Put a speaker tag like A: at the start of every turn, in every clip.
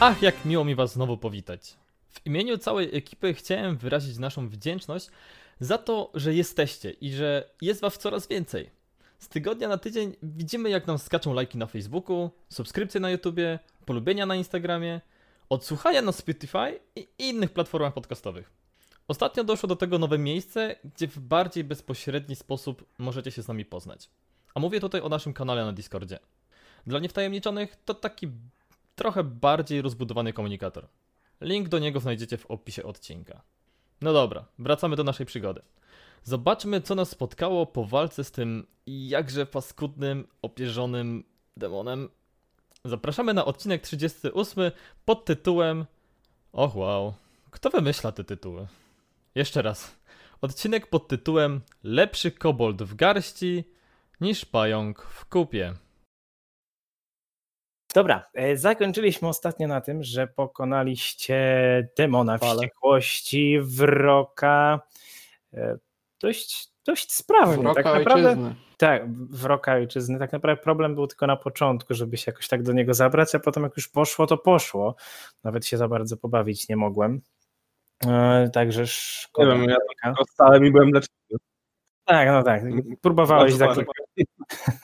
A: Ach, jak miło mi Was znowu powitać. W imieniu całej ekipy chciałem wyrazić naszą wdzięczność za to, że jesteście i że jest Was coraz więcej. Z tygodnia na tydzień widzimy, jak nam skaczą lajki na Facebooku, subskrypcje na YouTubie, polubienia na Instagramie, odsłuchania na Spotify i innych platformach podcastowych. Ostatnio doszło do tego nowe miejsce, gdzie w bardziej bezpośredni sposób możecie się z nami poznać. A mówię tutaj o naszym kanale na Discordzie. Dla niewtajemniczonych to taki trochę bardziej rozbudowany komunikator. Link do niego znajdziecie w opisie odcinka. No dobra, wracamy do naszej przygody. Zobaczmy, co nas spotkało po walce z tym jakże paskudnym, opierzonym demonem. Zapraszamy na odcinek 38 pod tytułem. Och, wow. Kto wymyśla te tytuły? Jeszcze raz. Odcinek pod tytułem Lepszy kobold w garści niż pająk w kupie.
B: Dobra, e, zakończyliśmy ostatnio na tym, że pokonaliście demona
A: Fale.
B: wściekłości, wroka. e, Dość, dość sprawnie.
C: Wroka
B: tak naprawdę.
C: ojczyzny.
B: Tak, wroka ojczyzny. Tak naprawdę problem był tylko na początku, żeby się jakoś tak do niego zabrać, a potem jak już poszło, to poszło. Nawet się za bardzo pobawić nie mogłem. E, Także szkoda.
D: Nie wiem, ja Stałem i byłem leczony.
B: Tak, no tak. Próbowałeś
D: Bardzo
B: zaklęć.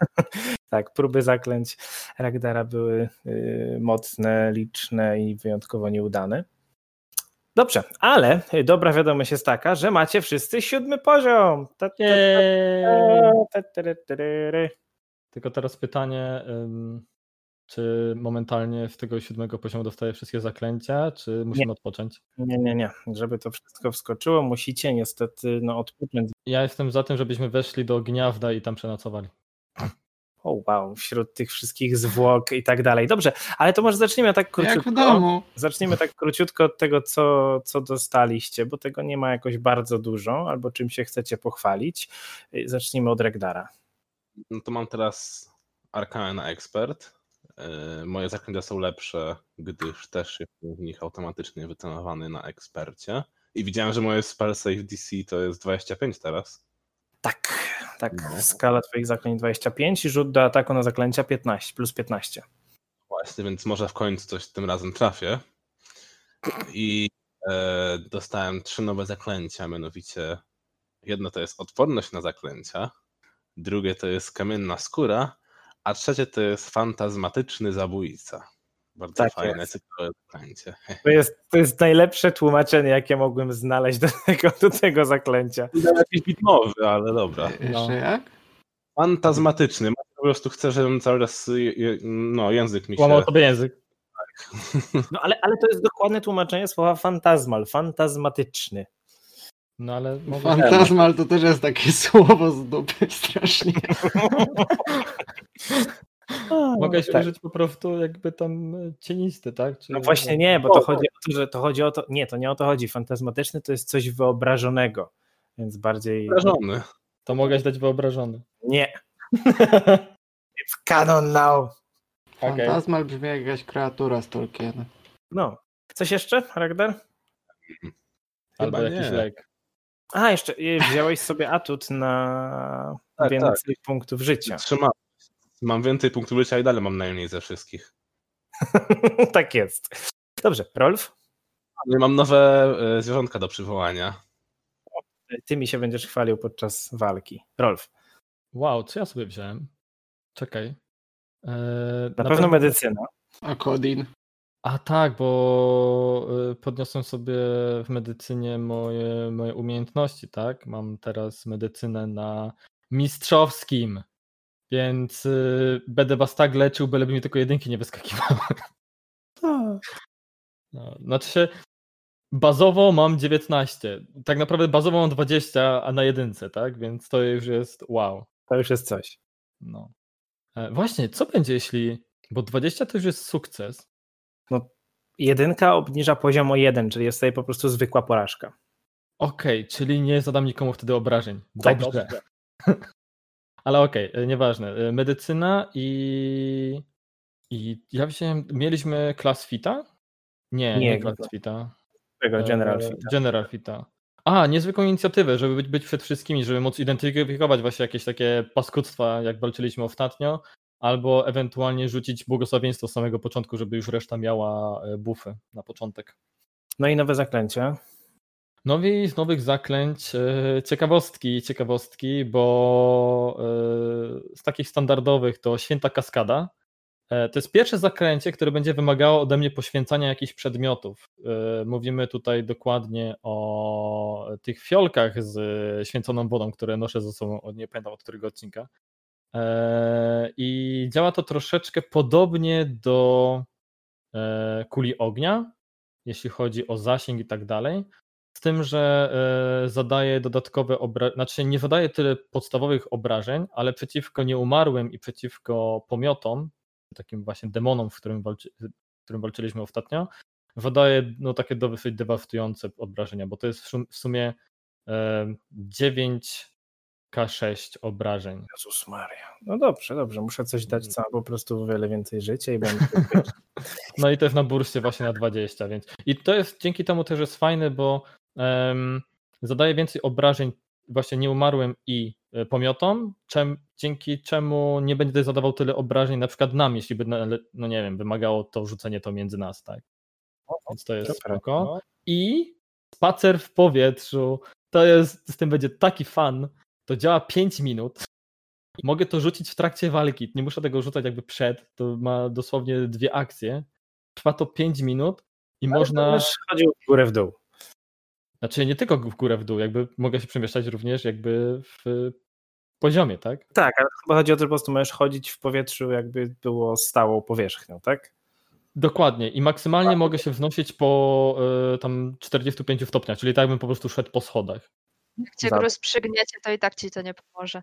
B: tak, próby zaklęć Ragdara były y, mocne, liczne i wyjątkowo nieudane. Dobrze, ale dobra wiadomość jest taka, że macie wszyscy siódmy poziom. Ta, ta, ta, ta, ta, ta, ta, ta.
A: Tylko teraz pytanie, ym, czy momentalnie z tego siódmego poziomu dostaję wszystkie zaklęcia, czy musimy odpocząć?
B: Nie, nie, nie. Żeby to wszystko wskoczyło, musicie niestety no, odpocząć.
A: Ja jestem za tym, żebyśmy weszli do gniazda i tam przenocowali.
B: O, wow, wśród tych wszystkich zwłok i tak dalej. Dobrze, ale to może zaczniemy tak króciutko.
C: Jak w domu.
B: Zacznijmy tak króciutko od tego, co, co dostaliście, bo tego nie ma jakoś bardzo dużo, albo czym się chcecie pochwalić. Y, Zacznijmy od Regdara.
D: No to mam teraz Arcana Expert. Yy, Moje zaklęcia są lepsze, gdyż też jestem w nich automatycznie wycenowany na ekspercie. I widziałem, że moje spell save DC to jest 25 teraz.
B: Tak, tak.
D: No.
B: Skala twoich zaklęć 25 i rzut do ataku na zaklęcia 15, plus 15.
D: Właśnie, więc może w końcu coś tym razem trafię. I e, dostałem trzy nowe zaklęcia, mianowicie jedno to jest odporność na zaklęcia, drugie to jest kamienna skóra, a trzecie to jest fantazmatyczny zabójca. Bardzo
B: Tak
D: fajne,
B: jest.
D: ciekawe zaklęcie.
B: To jest, to jest najlepsze tłumaczenie, jakie mogłem znaleźć do tego, do tego zaklęcia.
D: Jakiś bitmowy, ale dobra.
A: No.
C: Jeszcze jak?
D: Fantazmatyczny. Po prostu chcę, żebym cały czas je- je- no, język mi się...
A: Łamał sobie język.
B: No ale, ale to jest dokładne tłumaczenie słowa fantazmal, fantazmatyczny.
A: No ale mogę...
C: Fantazmal to też jest takie słowo z dupy strasznie.
A: Mogę
B: Tak.
A: się użyć po prostu jakby tam e, cienisty, tak? Czy...
B: No właśnie nie, bo to chodzi o to, że to chodzi o to. Nie, to nie o to chodzi. Fantazmatyczny to jest coś wyobrażonego. Więc bardziej.
D: Wrażony.
A: To mogę dać wyobrażony.
B: Nie. It's canon now.
A: Okej.
C: Fantazmal brzmi jak jakaś kreatura z Tolkiena.
B: No. Coś jeszcze, Ragdar?
A: Albo
D: Chyba
A: jakiś
D: nie.
A: lek.
B: A, jeszcze y, wziąłeś sobie atut na
D: Tak,
B: więcej punktów życia.
D: Trzymam. Mam więcej punktów życia i dalej mam najmniej ze wszystkich.
B: tak jest. Dobrze, Rolf,
D: Nie No mam nowe e, zwierzątka do przywołania.
B: ty mi się będziesz chwalił podczas walki. Rolf,
A: Wow, co ja sobie wziąłem? Czekaj. E,
B: na, pewno medycyna.
C: A Kodin.
A: A tak, bo y, podniosłem sobie w medycynie moje, moje umiejętności, tak? Mam teraz medycynę na mistrzowskim, więc y, będę was tak leczył, byleby mi tylko jedynki nie wyskakiwały. No, znaczy się, bazowo mam 19, tak naprawdę bazowo mam 20, a na jedynce, tak? Więc to już jest wow.
B: To już jest coś.
A: No. E, Właśnie, co będzie jeśli, bo 20 to już jest sukces,
B: Jedynka obniża poziom o jeden, czyli jest tutaj po prostu zwykła porażka.
A: Okej, czyli nie zadam nikomu wtedy obrażeń.
B: Tak,
A: Tak, Dobrze. Ale okej, e, nieważne. E, Medycyna i. I ja wziąłem. Mieliśmy klas fita? Nie, nie,
B: Nie, nie
A: klas
B: było.
A: fita.
B: Tego General
A: E,
B: Fit.
A: General fita. A, niezwykłą inicjatywę, żeby być, być przed wszystkimi, żeby móc identyfikować właśnie jakieś takie paskudztwa, jak walczyliśmy ostatnio, albo ewentualnie rzucić błogosławieństwo z samego początku, żeby już reszta miała e, bufy na początek.
B: No i nowe zaklęcia.
A: Nowi z nowych zaklęć, e, ciekawostki, ciekawostki, bo e, z takich standardowych to Święta Kaskada. E, To jest pierwsze zaklęcie, które będzie wymagało ode mnie poświęcania jakichś przedmiotów. E, Mówimy tutaj dokładnie o tych fiolkach z święconą wodą, które noszę ze sobą, od nie pamiętam od którego odcinka. E, I działa to troszeczkę podobnie do e, kuli ognia, jeśli chodzi o zasięg i tak dalej. Z tym, że e, zadaje dodatkowe obrażenia, znaczy nie zadaje tyle podstawowych obrażeń, ale przeciwko nieumarłym i przeciwko pomiotom, takim właśnie demonom, w którym, walczy, w którym walczyliśmy ostatnio, zadaje no, takie dosyć dewastujące obrażenia, bo to jest w szum- w sumie e, 9K6 obrażeń.
B: Jezus Maria. No dobrze, dobrze. Muszę coś dać, co ma po prostu o wiele więcej życia i będę...
A: No i też na bursie właśnie na 20, więc. I to jest dzięki temu też jest fajne, bo em, zadaje więcej obrażeń właśnie nieumarłym i e, pomiotom, czem, dzięki czemu nie będę zadawał tyle obrażeń na przykład nam, jeśli by, nale- no nie wiem, wymagało to rzucenie to między nas, tak? Więc to jest
B: Dobra,
A: spoko.
B: no.
A: I spacer w powietrzu. To jest, z tym będzie taki fan. To działa 5 minut. Mogę to rzucić w trakcie walki. Nie muszę tego rzucać jakby przed. To ma dosłownie dwie akcje. Trwa to 5 minut i
B: no,
A: można.
B: Będziesz chodził w górę w dół.
A: Znaczy nie tylko w górę w dół, jakby mogę się przemieszczać również jakby w y, poziomie, tak?
B: Tak, ale chyba chodzi o to, że po prostu możesz chodzić w powietrzu, jakby było stałą powierzchnią, tak?
A: Dokładnie. I maksymalnie mogę się wznosić po y, tam 45 stopniach, czyli tak bym po prostu szedł po schodach.
E: Jak cię
B: Za-
E: gruz przygniecie, to i tak ci to nie pomoże.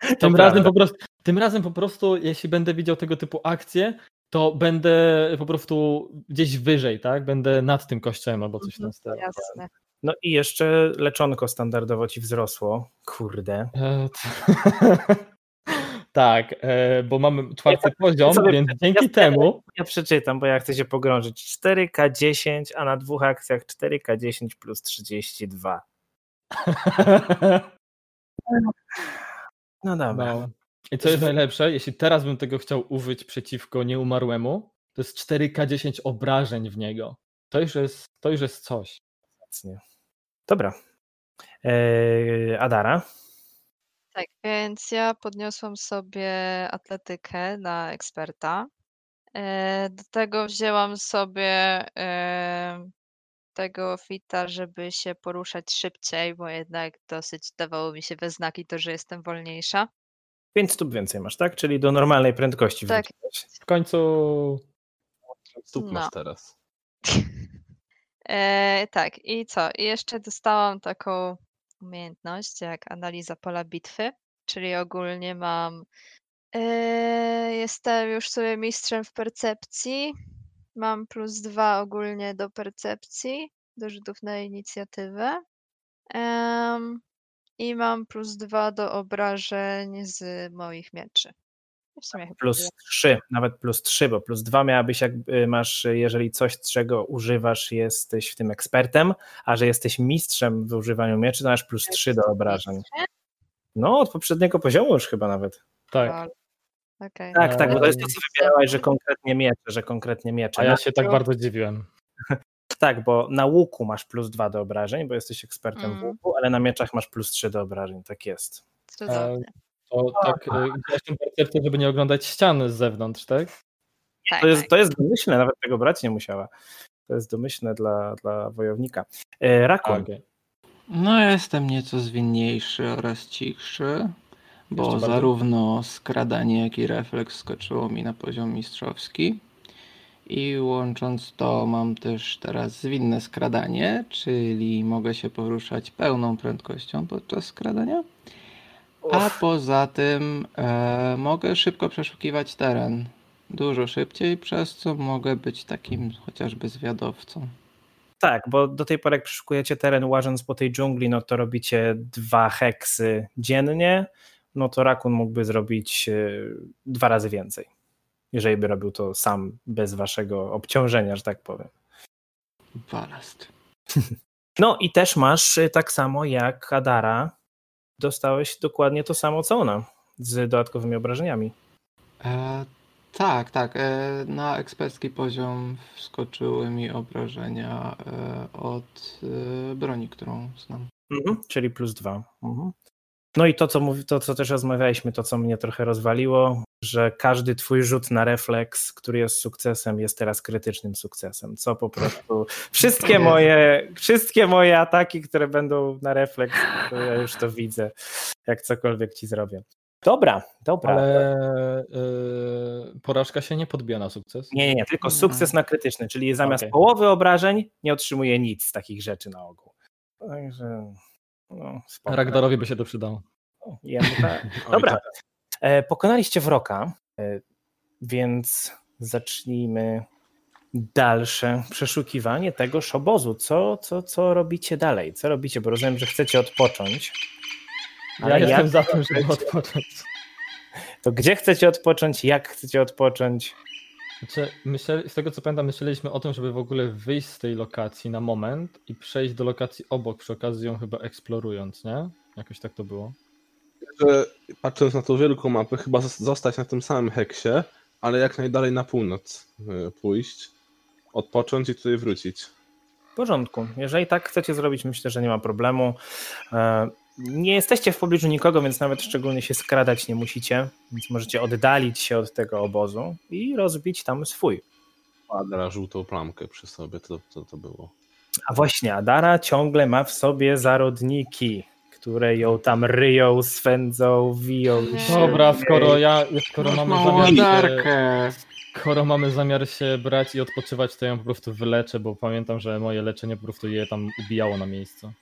A: Tym
B: prawda.
A: razem, po prostu, tym razem po prostu, jeśli będę widział tego typu akcje, to będę po prostu gdzieś wyżej, tak? Będę nad tym kościołem albo coś
B: Mhm.
A: tam stylu.
E: Jasne.
B: No i jeszcze leczonko standardowo ci wzrosło. Kurde.
A: E, t- Tak, e, bo mamy czwarty poziom,
B: sobie-
A: więc dzięki
B: ja sobie-
A: temu
B: Ja przeczytam, bo ja chcę się pogrążyć. 4K10, a na dwóch akcjach 4K10 plus 32. No dobra.
A: No. I co jest najlepsze, jeśli teraz bym tego chciał użyć przeciwko nieumarłemu, to jest 4K10 obrażeń w niego. To już jest, to już jest coś.
B: Obecnie. Dobra. Eee, Adara.
E: Tak, więc ja podniosłam sobie atletykę na eksperta. E, Do tego wzięłam sobie e, tego fita, żeby się poruszać szybciej, bo jednak dosyć dawało mi się we znaki to, że jestem wolniejsza.
B: 5 stóp więcej masz, tak? Czyli do normalnej prędkości
E: Tak.
B: wróciłeś.
A: W końcu
D: Stóp masz
E: No.
D: teraz.
E: E, tak, i co? I jeszcze dostałam taką umiejętność jak analiza pola bitwy, czyli ogólnie mam. E, jestem już sobie mistrzem w percepcji. Mam plus dwa ogólnie do percepcji, do rzutów na inicjatywę. Em, I mam plus dwa do obrażeń z moich mieczy. I W sumie chyba
B: Plus
E: tyle.
B: 3, nawet plus 3, bo plus 2 miałabyś, jak y, masz, y, jeżeli coś, czego używasz, jesteś w tym ekspertem, a że jesteś mistrzem w używaniu mieczy, to masz plus 3 do obrażeń. No, od poprzedniego poziomu już chyba nawet.
A: tak.
E: Lol. Okej.
B: Tak, tak, bo to jest to,
A: Eee.
B: co wybierałaś, że konkretnie miecze, że konkretnie miecze.
A: A ja
B: No,
A: się tak bardzo dziwiłem.
B: Tak, bo na łuku masz plus 2 do obrażeń, bo jesteś ekspertem w
E: Mm.
B: łuku, ale na mieczach masz plus 3 do obrażeń, tak jest.
E: Cudownie.
A: To tak, e, ja się percepcję, żeby nie oglądać ścian z zewnątrz, tak?
E: Tak,
B: To jest,
E: tak.
B: to jest domyślne, nawet tego brać nie musiała. To jest domyślne dla, dla wojownika. E, Rakun,
A: Okej.
F: No, ja jestem nieco zwinniejszy oraz cichszy, bo
A: Jeszcze bardziej.
F: zarówno skradanie, jak i refleks skoczyło mi na poziom mistrzowski. I łącząc to, mam też teraz zwinne skradanie, czyli mogę się poruszać pełną prędkością podczas skradania. A poza tym e, mogę szybko przeszukiwać teren. Dużo szybciej, przez co mogę być takim chociażby zwiadowcą.
B: tak, bo do tej pory jak przeszukujecie teren łażąc po tej dżungli, no to robicie dwa heksy dziennie, no to Rakun mógłby zrobić e, dwa razy więcej, jeżeli by robił to sam, bez waszego obciążenia, że tak powiem.
F: Balast.
B: No i też masz e, tak samo jak Adara, dostałeś dokładnie to samo co ona. z dodatkowymi obrażeniami.
F: E, tak, tak. E, na ekspercki poziom wskoczyły mi obrażenia e, od e, broni, którą znam.
B: Czyli plus dwa. Mhm. No i to co, mówi, to, co też rozmawialiśmy, to co mnie trochę rozwaliło, że każdy twój rzut na refleks, który jest sukcesem, jest teraz krytycznym sukcesem. Co po prostu. Wszystkie moje, wszystkie moje ataki, które będą na refleks, to ja już to widzę, jak cokolwiek ci zrobię. Dobra, dobra.
A: Ale y, porażka się nie podbija na sukces.
B: Nie, nie, nie, tylko sukces na krytyczny, czyli zamiast
A: Okej.
B: połowy obrażeń nie otrzymuje nic z takich rzeczy na ogół. Także. No, spoko.
A: Ragdarowi by się to przydało.
B: Jemu tak.
D: Oj,
B: Dobra.
D: tak.
B: E, Pokonaliście wroka, e, więc zacznijmy dalsze przeszukiwanie tegoż obozu. Co, co, co robicie dalej? Co robicie? Bo rozumiem, że chcecie odpocząć.
A: Ja
B: Ale
A: jestem
B: jak-
A: za tym, żeby odpocząć.
B: To gdzie chcecie odpocząć? Jak chcecie odpocząć?
A: Znaczy, myśleli, z tego co pamiętam, myśleliśmy o tym, żeby w ogóle wyjść z tej lokacji na moment i przejść do lokacji obok, przy okazji ją chyba eksplorując, nie? Jakoś tak to było.
D: Że patrząc na tą wielką mapę, chyba zos- zostać na tym samym heksie, ale jak najdalej na północ y, pójść, odpocząć i tutaj wrócić.
B: W porządku. Jeżeli tak chcecie zrobić, myślę, że nie ma problemu. E, Nie jesteście w pobliżu nikogo, więc nawet szczególnie się skradać nie musicie, więc możecie oddalić się od tego obozu i rozbić tam swój.
D: Kwadra żółtą plamkę przy sobie, to, to, to było.
B: A właśnie, Adara ciągle ma w sobie zarodniki, które ją tam ryją, swędzą, wiją. i się-
A: Dobra, skoro ja, skoro mamy e,
F: Małą
A: zamiar się,
F: ładarkę.
A: skoro mamy zamiar się brać i odpoczywać, to ja ją po prostu wyleczę, bo pamiętam, że moje leczenie po prostu je tam ubijało na miejscu.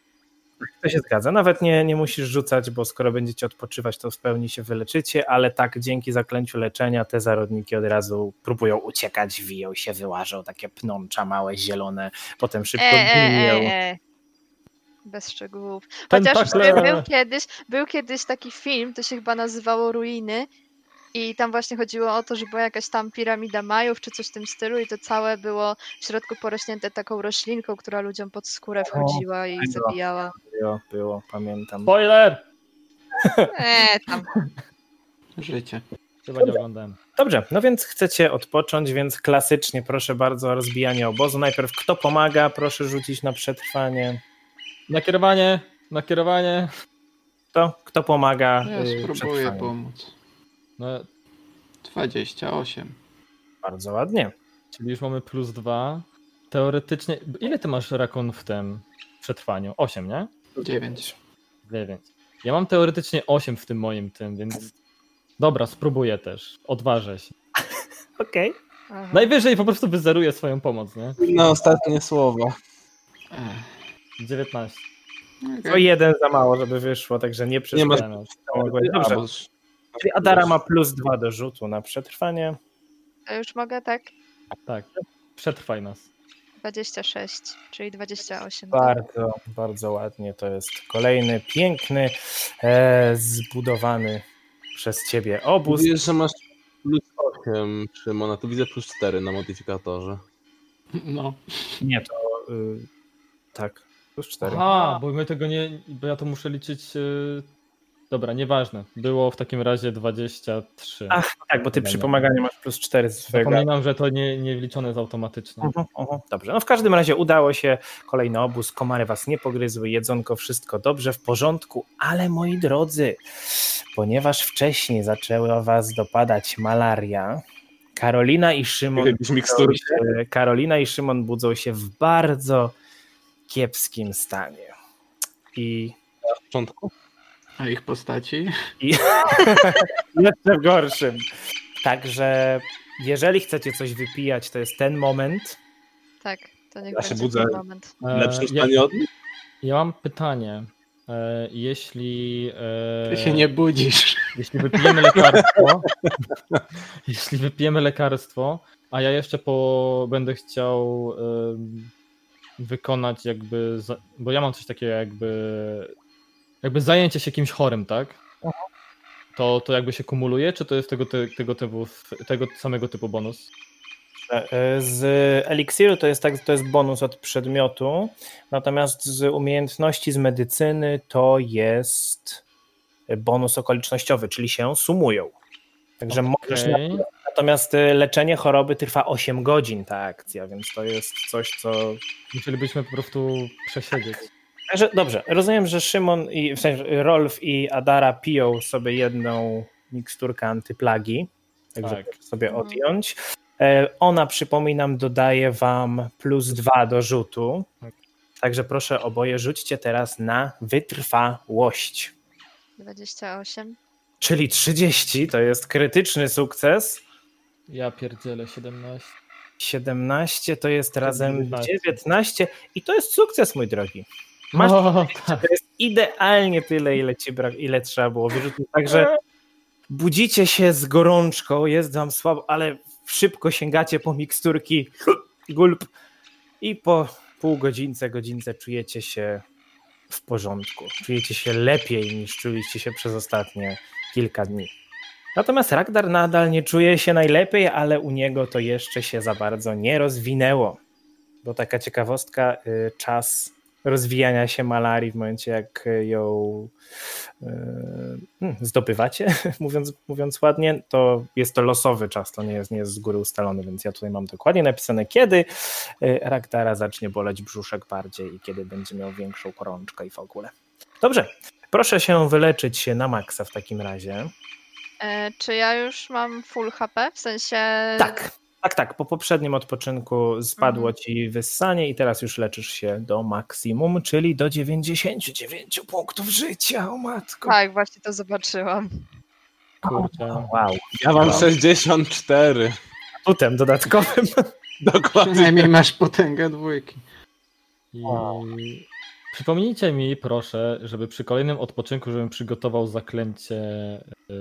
B: To się zgadza. Nawet nie, nie musisz rzucać, bo skoro będziecie odpoczywać, to w pełni się wyleczycie, ale tak dzięki zaklęciu leczenia te zarodniki od razu próbują uciekać, wiją się, wyłażą takie pnącza małe, zielone, potem szybko
E: E, e,
B: gniją.
E: e, e. Bez szczegółów.
A: Ten tak
E: Chociaż
A: pakle-
E: był- był, kiedyś, był kiedyś taki film, to się chyba nazywało Ruiny. I tam właśnie chodziło o to, że była jakaś tam piramida Majów czy coś w tym stylu, i to całe było w środku porośnięte taką roślinką, która ludziom pod skórę wchodziła i
B: fajno.
E: zabijała.
B: Było, było, pamiętam.
A: Spoiler!
E: Eee, tam.
F: Życie.
A: Chyba nie oglądałem.
B: Dobrze, no więc chcecie odpocząć, więc klasycznie proszę bardzo o rozbijanie obozu. Najpierw kto pomaga, proszę rzucić na przetrwanie.
A: Nakierowanie, nakierowanie.
B: Kto, kto
A: e,
B: pomaga?
F: Ja
B: y,
F: spróbuję
B: przetrwanie?
F: pomóc.
A: No,
F: 28.
B: Bardzo ładnie.
A: czyli już mamy plus dwa. Teoretycznie, ile ty masz rakon w tym przetrwaniu? Osiem, nie?
F: 9.
A: 9. Ja mam teoretycznie 8 w tym moim tym, więc. Dobra, spróbuję też. Odważę się.
B: Okej.
E: Aha.
A: Najwyżej po prostu wyzeruję swoją pomoc, nie?
D: Na No, ostatnie słowa.
F: Ech,
A: 19.
B: To
F: E, okej.
B: jeden za mało, żeby wyszło, także nie
D: Nie ma-
B: przeszkadza. Mogłeś- Dobrze. Czyli Adara ma plus dwa do rzutu na przetrwanie.
E: To już mogę tak?
A: Tak. Przetrwaj nas.
E: 26, czyli 28. tak?
B: Bardzo, bardzo ładnie. To jest kolejny piękny, e, zbudowany przez ciebie obóz.
D: Mówisz, że masz plus 8, Szymona, tu widzę plus 4 na modyfikatorze.
F: No.
B: Nie, to y, tak, plus cztery.
A: Aha, bo my tego nie. Bo ja to muszę liczyć. Yy... Dobra, nieważne. Było w takim razie 23.
B: Ach, Tak, bo ty przy pomaganiu masz plus cztery z swojego.
A: Zapominam, że to nie, nie wliczone jest automatycznie.
B: Mhm, mhm. Dobrze, no w każdym razie udało się. Kolejny obóz, komary was nie pogryzły, jedzonko, wszystko dobrze, w porządku, ale moi drodzy, ponieważ wcześniej zaczęła was dopadać malaria, Karolina i Szymon
D: Jakieś mikstury.
B: E, Karolina i Szymon budzą się w bardzo kiepskim stanie. I
D: Na początku?
F: A ich postaci?
B: jeszcze w gorszym. Także jeżeli chcecie coś wypijać, to jest ten moment.
E: Tak, to niech
D: Ja się
E: będzie
D: budzę.
E: ten moment.
A: E,
D: Lepsze
A: ja,
D: stanie od nich?
A: ja mam pytanie. E, jeśli. E,
F: Ty się nie budzisz.
A: Jeśli wypijemy lekarstwo, jeśli wypijemy lekarstwo, a ja jeszcze po, będę chciał em, wykonać jakby, za, bo ja mam coś takiego jakby, jakby zajęcie się kimś chorym, tak? To, to jakby się kumuluje, czy to jest tego, ty, tego, typu, tego samego typu bonus?
B: E, e, Z eliksiru to jest tak, to jest bonus od przedmiotu, natomiast z umiejętności z medycyny to jest bonus okolicznościowy, czyli się sumują. Także możesz.
A: Okej.
B: Na... Natomiast y, leczenie choroby trwa 8 godzin ta akcja, więc to jest coś, co
A: Musielibyśmy po prostu przesiedzieć.
B: Także dobrze, rozumiem, że Szymon i w sensie Rolf i Adara piją sobie jedną miksturkę antyplagi. Także
A: Tak.
B: proszę sobie
E: Mhm.
B: odjąć. E, Ona, przypominam, dodaje wam plus dwa do rzutu. Także proszę oboje rzućcie teraz na wytrwałość.
E: 28.
B: Czyli 30 to jest krytyczny sukces.
A: Ja pierdzielę 17.
B: 17 to jest razem
A: 19.
B: 19 i to jest sukces, mój drogi. Masz
A: No, tak.
B: To jest idealnie tyle, ile, ci bra- ile trzeba było wyrzucić. Także budzicie się z gorączką, jest wam słabo, ale szybko sięgacie po miksturki, gulp i po pół godzince, godzince czujecie się w porządku. Czujecie się lepiej niż czuliście się przez ostatnie kilka dni. Natomiast Ragnar nadal nie czuje się najlepiej, ale u niego to jeszcze się za bardzo nie rozwinęło. Bo taka ciekawostka, y, czas rozwijania się malarii w momencie, jak ją e, hmm, zdobywacie, mówiąc, mówiąc ładnie, to jest to losowy czas, to nie jest, nie jest z góry ustalony, więc ja tutaj mam dokładnie napisane, kiedy e, Raktara zacznie boleć brzuszek bardziej i kiedy będzie miał większą korączkę i w ogóle. Dobrze, proszę się wyleczyć się na maksa w takim razie.
E: E, czy ja już mam full HP? W sensie.
B: Tak, tak, tak, po poprzednim odpoczynku spadło ci wyssanie i teraz już leczysz się do maksimum, czyli do 99 punktów życia, o matko.
E: Tak, właśnie to zobaczyłam.
A: Kurczę.
B: Wow,
D: Ja mam
B: Wow.
D: 64.
B: atutem dodatkowym.
D: Dokładnie.
F: Przynajmniej masz potęgę dwójki.
A: I...
B: Wow.
A: Przypomnijcie mi, proszę, żeby przy kolejnym odpoczynku, żebym przygotował zaklęcie yy,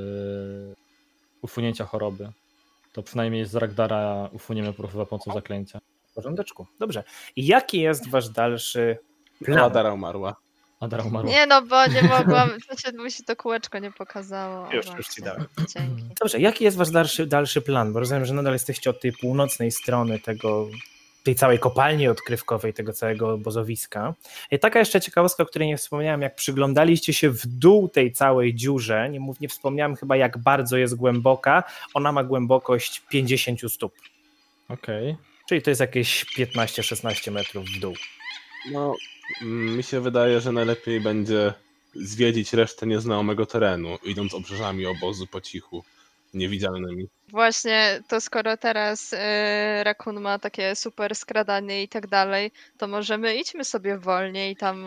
A: usunięcia choroby. To przynajmniej z Ragdara usuniemy po prostu za pomocą zaklęcia.
B: W porządeczku, dobrze. I jaki jest wasz dalszy plan?
D: Adara umarła.
A: Adara umarła.
E: Nie no, bo nie mogłam. W sensie mi się to kółeczko nie pokazało. O,
B: Już, już
E: właśnie.
B: ci dałem.
E: Dzięki.
B: Dobrze, jaki jest wasz dalszy, dalszy plan? Bo rozumiem, że nadal jesteście od tej północnej strony tego, tej całej kopalni odkrywkowej, tego całego obozowiska. I taka jeszcze ciekawostka, o której nie wspomniałem, jak przyglądaliście się w dół tej całej dziurze, nie, mów, nie wspomniałem chyba jak bardzo jest głęboka, ona ma głębokość 50 stóp,
A: Okej.
B: czyli to jest jakieś 15-16 metrów w dół.
D: No, mm, mi się wydaje, że najlepiej będzie zwiedzić resztę nieznajomego terenu, idąc obrzeżami obozu po cichu, niewidzialnymi.
E: Właśnie to skoro teraz e, Rakun ma takie super skradanie i tak dalej, to możemy idźmy sobie wolniej i tam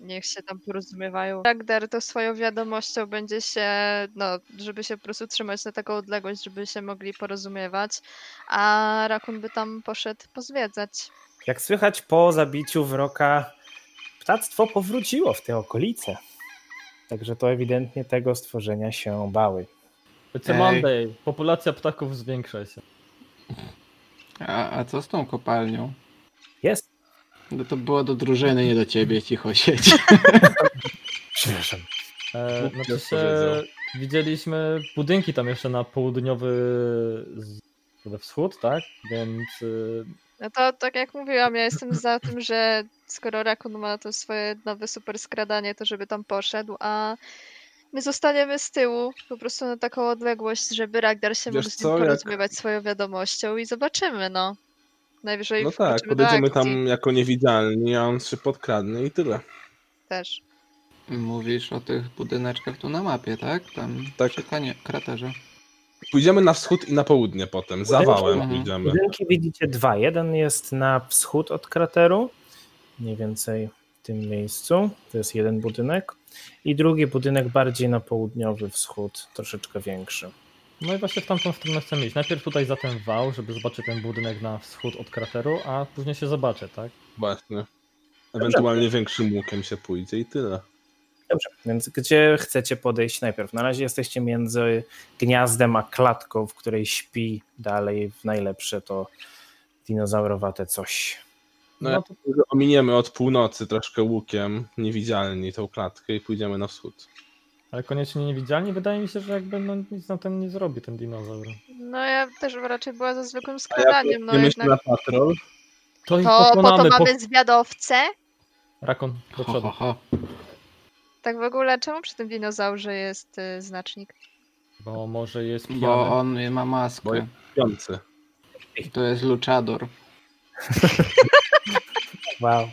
E: niech się tam porozumiewają. Ragdar to swoją wiadomością będzie się, no, żeby się po prostu trzymać na taką odległość, żeby się mogli porozumiewać, a Rakun by tam poszedł pozwiedzać.
B: Jak słychać po zabiciu wroka, ptactwo powróciło w te okolice. Także to ewidentnie tego stworzenia się bały.
A: It's a
F: Ej.
A: Monday. Populacja ptaków zwiększa się.
F: A, a co z tą kopalnią?
B: Jest.
F: No to było do drużyny, nie do ciebie, cicho siedź.
B: Przepraszam.
A: E,
D: Kupcy
A: znaczy się,
D: odpowiedzą.
A: widzieliśmy budynki tam jeszcze na południowy z- we wschód, tak? Więc y,
E: No to tak jak mówiłam, ja jestem za tym, że skoro Rakun ma to swoje nowe super skradanie, to żeby tam poszedł, a my zostaniemy z tyłu, po prostu na taką odległość, żeby Ragdar się
D: Wiesz
E: mógł z
D: co,
E: nim
D: jak-
E: porozumiewać swoją wiadomością i zobaczymy, no. Najwyżej
D: No tak,
E: wkroczymy do
D: podejdziemy
E: akcji
D: tam jako niewidzialni, a on się podkradnie i tyle.
E: Też.
F: Mówisz o tych budyneczkach tu na mapie, tak? Tam
D: Tak.
F: przy kanie, kraterze.
D: Pójdziemy na wschód i na południe potem. Zawałem
F: Mhm.
D: pójdziemy.
B: Budynki widzicie dwa. Jeden jest na wschód od krateru, mniej więcej w tym miejscu. To jest jeden budynek. I drugi budynek bardziej na południowy wschód, troszeczkę większy.
A: no i właśnie w tamtą stronę chcemy iść. Najpierw tutaj za ten wał, żeby zobaczyć ten budynek na wschód od krateru, a później się zobaczę, tak?
D: Właśnie. Ewentualnie większym łukiem się pójdzie i tyle.
B: Dobrze, więc gdzie chcecie podejść najpierw? Na razie jesteście między gniazdem a klatką, w której śpi dalej w najlepsze to dinozaurowate coś.
A: No
D: No, ja myślę, że ominiemy od północy troszkę łukiem, niewidzialni tą klatkę i pójdziemy na wschód.
A: Ale koniecznie niewidzialni, wydaje mi się, że jakby no, nic na ten nie zrobi ten dinozaur.
E: No ja też raczej była za zwykłym
D: A jak
E: skradaniem, no
D: pójdziemy się
E: jednak.
D: na patrol,
A: To ich
E: To po to
A: pokonamy, po...
E: mamy zwiadowcę,
A: Rakon, do
F: Ho, ho,
A: przodu.
F: ho.
E: Tak w ogóle, czemu przy tym dinozaurze jest y, znacznik?
A: Bo może jest pijany.
F: Bo on ma maskę.
D: Bo- Piący.
F: To jest luchador.
B: Wow.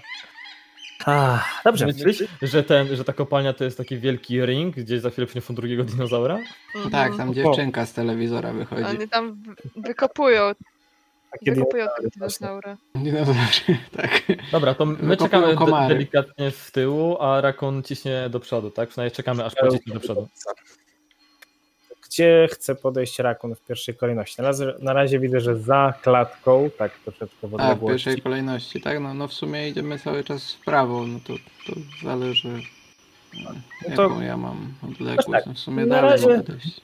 B: A, dobrze.
A: Myślisz, że, ten, że ta kopalnia to jest taki wielki ring, gdzie za chwilę przyniosą drugiego dinozaura?
E: Mhm.
F: Tak, tam dziewczynka z telewizora wychodzi.
E: Oni tam w- wykopują,
B: Takie
E: wykopują
B: dinozaury,
E: tego
B: właśnie.
E: dinozaura.
F: Dinozaury, tak.
A: Dobra, to my
F: Wykopują
A: czekamy de-
F: komary.
A: delikatnie w tyłu, a rakon ciśnie do przodu, tak? Przynajmniej czekamy aż pociśnie do przodu.
B: Gdzie chce podejść rakun w pierwszej kolejności? Na razie, na razie widzę, że za klatką, tak troszeczkę w
F: A, w
B: odległości.
F: pierwszej kolejności, tak? No, no w sumie idziemy cały czas w prawo, no to, to zależy e,
B: No to- tak.
F: jaką ja mam odległość. No w sumie
B: Na
F: dalej
B: razie-
F: mogę dojść.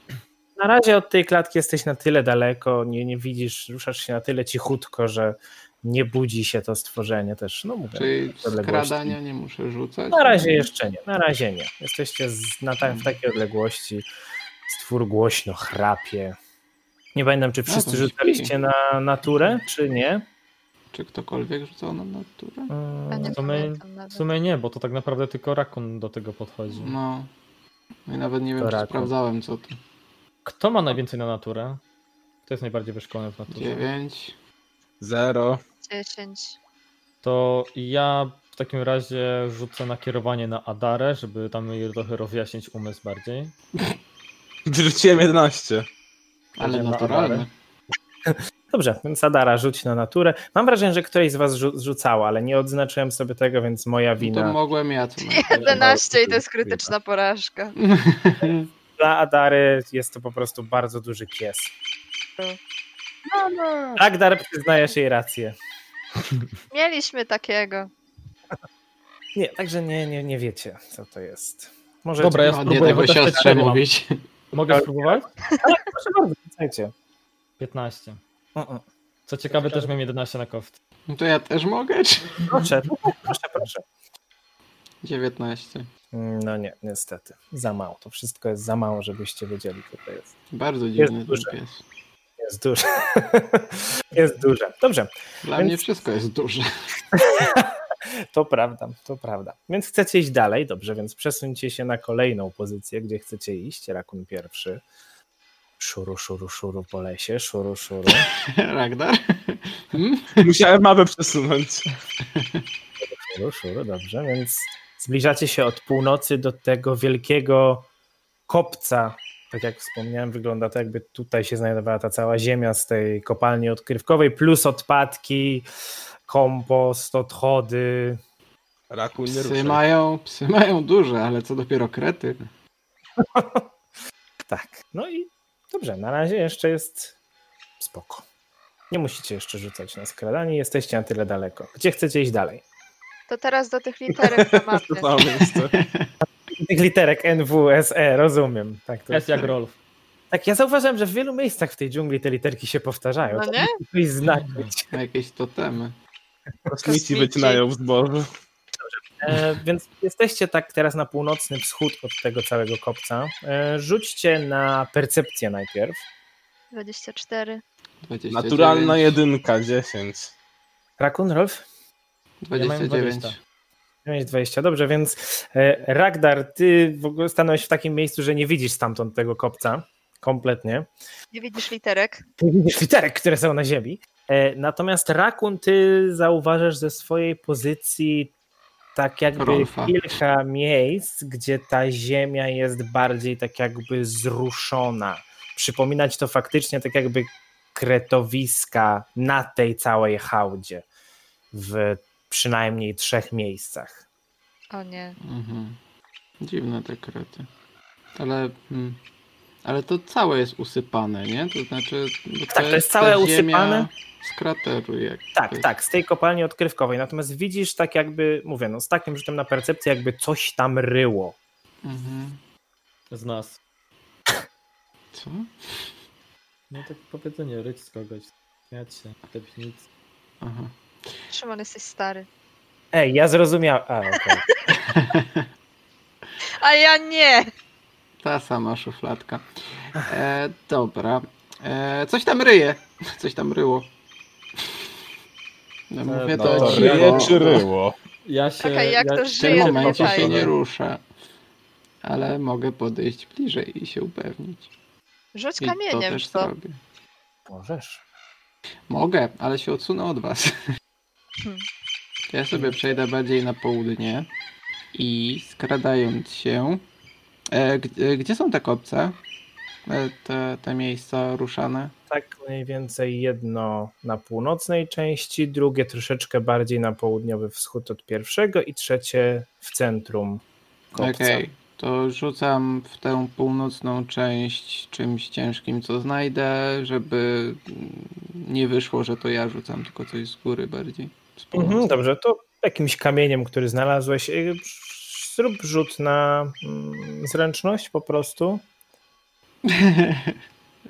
B: Na razie od tej klatki jesteś na tyle daleko, nie, nie widzisz, ruszasz się na tyle cichutko, że nie budzi się to stworzenie też. No mówię.
F: Czyli
B: w odległości.
F: skradania nie muszę rzucać.
B: Na razie jeszcze nie, na razie nie. Jesteście z, na ta, w takiej odległości. Stwór głośno chrapie. Nie pamiętam, czy wszyscy
F: No, to śpi.
B: rzucaliście na naturę, czy nie.
F: Czy ktokolwiek rzucał na naturę?
E: Ja nie
B: Mm,
A: To my-
E: pamiętam
A: W
E: nawet.
A: sumie nie, bo to tak naprawdę tylko rakon do tego podchodzi.
F: No. No i nawet nie wiem,
B: To
F: czy
B: raku.
F: sprawdzałem co to.
A: Kto ma najwięcej na naturę? Kto jest najbardziej wyszkolony w naturze?
F: 9.
D: Zero.
E: 10.
A: To ja w takim razie rzucę nakierowanie na Adarę, żeby tam jej trochę rozjaśnić umysł bardziej.
D: Wyrzuciłem 11.
F: Ale
B: Będziemy
F: naturalny.
B: Dobrze, więc Adara rzuć na naturę. Mam wrażenie, że któreś z was rzu- rzucała, ale nie odznaczyłem sobie tego, więc moja
F: No to
B: wina.
F: mogłem ja co najwyżej.
E: 11 i to jest krytyczna porażka.
B: Dla Adary jest to po prostu bardzo duży pies. Tak, Dar, przyznajesz jej rację.
E: Mieliśmy takiego.
B: Nie, także nie, nie, nie wiecie, co to jest. Może
A: Dobra, ja
F: No, nie
A: spróbuję
F: tego
A: chociaż
F: siostrze
A: mam.
F: mówić.
A: Mogę spróbować?
B: Proszę bardzo, wrzucajcie.
A: 15.
B: Mm, mm.
A: Co ciekawe, też miałem 11 na koft.
F: No to ja też mogę? Czy...
B: Proszę, proszę, proszę.
F: 19.
B: No nie, niestety. Za mało. To wszystko jest za mało, żebyście wiedzieli, co to jest.
F: Bardzo dziwny ten
B: duże.
F: pies.
B: Jest duże. jest duże. Dobrze,
F: Dla
B: Więc-
F: mnie wszystko jest duże.
B: to prawda, to prawda. Więc chcecie iść dalej, dobrze, więc przesuńcie się na kolejną pozycję, gdzie chcecie iść. Rakun pierwszy. Szuru, szuru, szuru po lesie, szuru, szuru.
F: Ragnar? Hmm?
D: Musiałem mapę przesunąć.
B: Szuru, szuru, dobrze, więc zbliżacie się od północy do tego wielkiego kopca. Tak jak wspomniałem, wygląda to jakby tutaj się znajdowała ta cała ziemia z tej kopalni odkrywkowej, plus odpadki, kompost, odchody.
D: Raku nie
F: Psy
D: ruszaj.
F: mają, psy mają duże, ale co dopiero krety.
B: Tak, no i dobrze, na razie jeszcze jest spoko. Nie musicie jeszcze rzucać na skradanie, jesteście na tyle daleko. Gdzie chcecie iść dalej?
E: To teraz do tych literek na
D: To
E: mapie.
D: samo miejsce.
B: Tych literek NWSE, rozumiem. Tak, to,
A: Jest jak Rolf.
B: tak, ja zauważyłem, że w wielu miejscach w tej dżungli te literki się powtarzają.
E: No
B: To
E: nie?
B: musi Coś znaczyć.
F: Ma Jakieś totemy.
D: Kosmici wycinają w zbożu.
B: E, więc jesteście tak teraz na północny wschód od tego całego kopca. E, rzućcie na percepcję najpierw.
E: 24.
F: 29.
D: Naturalna jedynka, 10.
B: Rakun, Rolf?
A: Ja
F: 29.
A: mam 20.
B: Miałeś 20, dobrze, więc e, Ragdar, ty w ogóle stanąłeś w takim miejscu, że nie widzisz stamtąd tego kopca kompletnie.
E: Nie widzisz literek?
B: Ty widzisz literek, które są na ziemi. E, Natomiast Rakun, ty zauważasz ze swojej pozycji tak jakby
F: Rolfa.
B: kilka miejsc, gdzie ta ziemia jest bardziej tak jakby zruszona. Przypominać to faktycznie tak jakby kretowiska na tej całej hałdzie w przynajmniej trzech miejscach.
E: O nie.
F: Mhm. Dziwne te krety. Ale, mm, ale to całe jest usypane, nie? To znaczy. bo
B: Tak, to jest całe
F: ta ziemia
B: usypane.
F: Z krateru, jak.
B: Tak, tak, z tej kopalni odkrywkowej. Natomiast widzisz tak jakby, mówię, no z takim rzutem na percepcję, jakby coś tam ryło.
F: Mhm.
A: Z nas.
F: Co?
A: No tak powiedzenie, ryć z kogoś. Śmiać się, tepić nic.
F: Aha.
E: Szymon, jesteś stary.
B: Ej, ja zrozumiałem. A, okej.
E: A ja nie!
F: Ta sama szufladka. E, dobra. E, coś tam ryje. Coś tam ryło. No, mówię
A: no
F: to
A: to
F: cicho.
D: ryje czy ryło?
A: Ja się.
E: Czekaj, jak
A: ja...
E: to
F: W tym
E: żyje,
F: momencie się
E: pytaj.
F: nie rusza. ale mogę podejść bliżej i się upewnić.
E: Rzuć
F: I to
E: kamieniem
F: też
E: w to.
F: zrobię.
B: Możesz.
F: Mogę, ale się odsunę od was.
E: Hmm.
F: Ja sobie przejdę bardziej na południe i skradając się. E, g- e, gdzie są te kopce? E, te, te miejsca ruszane?
B: Tak mniej więcej jedno na północnej części, drugie troszeczkę bardziej na południowy wschód od pierwszego i trzecie w centrum kopca.
F: Okej, to rzucam w tę północną część czymś ciężkim, co znajdę, żeby mm, nie wyszło, że to ja rzucam, tylko coś z góry bardziej. Z
B: Mhm,
F: północy.
B: dobrze, to jakimś kamieniem, który znalazłeś, y, zrób rzut na mm, zręczność po prostu.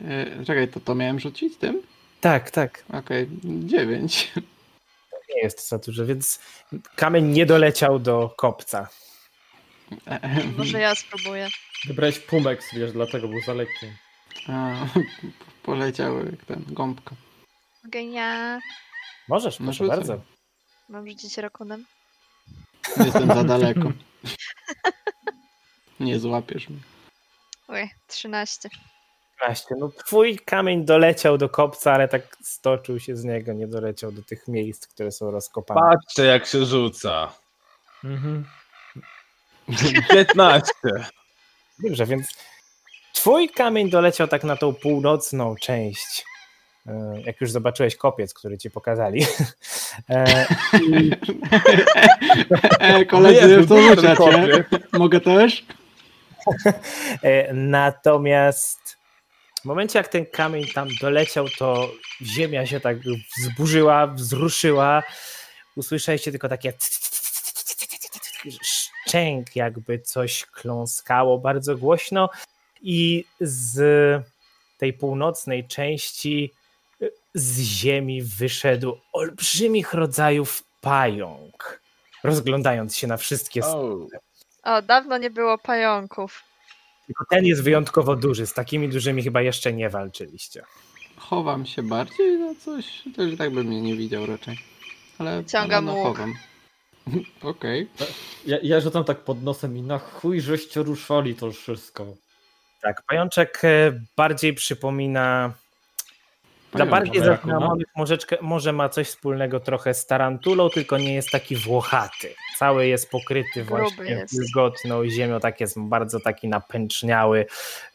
F: E, Czekaj, to to miałem rzucić tym?
B: Tak, tak.
F: Okej, dziewięć.
B: Nie jest za dużo, więc kamień nie doleciał do kopca.
E: Może ja spróbuję.
A: Wybrałeś Pumex, wiesz, dlatego był za lekki.
F: A, poleciały jak ten, gąbka.
E: Mogę ja...
B: Możesz,
F: No
B: proszę
F: rzucaj.
B: bardzo.
E: Mam rzucić rakunem?
F: Jestem za daleko. Nie złapiesz mnie.
E: Oj, 13.
B: 15. No twój kamień doleciał do kopca, ale tak stoczył się z niego, nie doleciał do tych miejsc, które są rozkopane.
D: Patrzcie, jak się rzuca.
A: Mhm.
D: 15.
B: Dobrze, więc twój kamień doleciał tak na tą północną część. E, Jak już zobaczyłeś kopiec, który ci pokazali. E, i- No
F: E, koledzy, w to
D: Jezu,
F: rzucacie.
D: kopie.
F: Mogę też?
B: E, Natomiast w momencie, jak ten kamień tam doleciał, to ziemia się tak wzburzyła, wzruszyła. Usłyszeliście tylko takie szczęk, jakby coś kląskało bardzo głośno. I z tej północnej części y, z ziemi wyszedł olbrzymich rodzajów pająk. Rozglądając się na wszystkie
D: Oh.
E: O, dawno nie było pająków.
B: tylko ten jest wyjątkowo duży. Z takimi dużymi chyba jeszcze nie walczyliście.
F: Chowam się bardziej na coś, to i tak by mnie nie widział raczej. Ale
E: Ciągam
F: ale
E: łuk.
F: chowam. Okej.
A: Ja, ja rzucam tak pod nosem i na chuj żeście ruszali to wszystko.
B: Tak, pajączek e, bardziej przypomina. Dla
F: Pająk,
B: bardziej
A: pająka.
B: zaznamionych możeczkę, może ma coś wspólnego trochę z tarantulą, tylko nie jest taki włochaty. Cały jest pokryty
E: Gruby
B: właśnie
E: jest.
B: wilgotną ziemią, tak jest bardzo taki napęczniały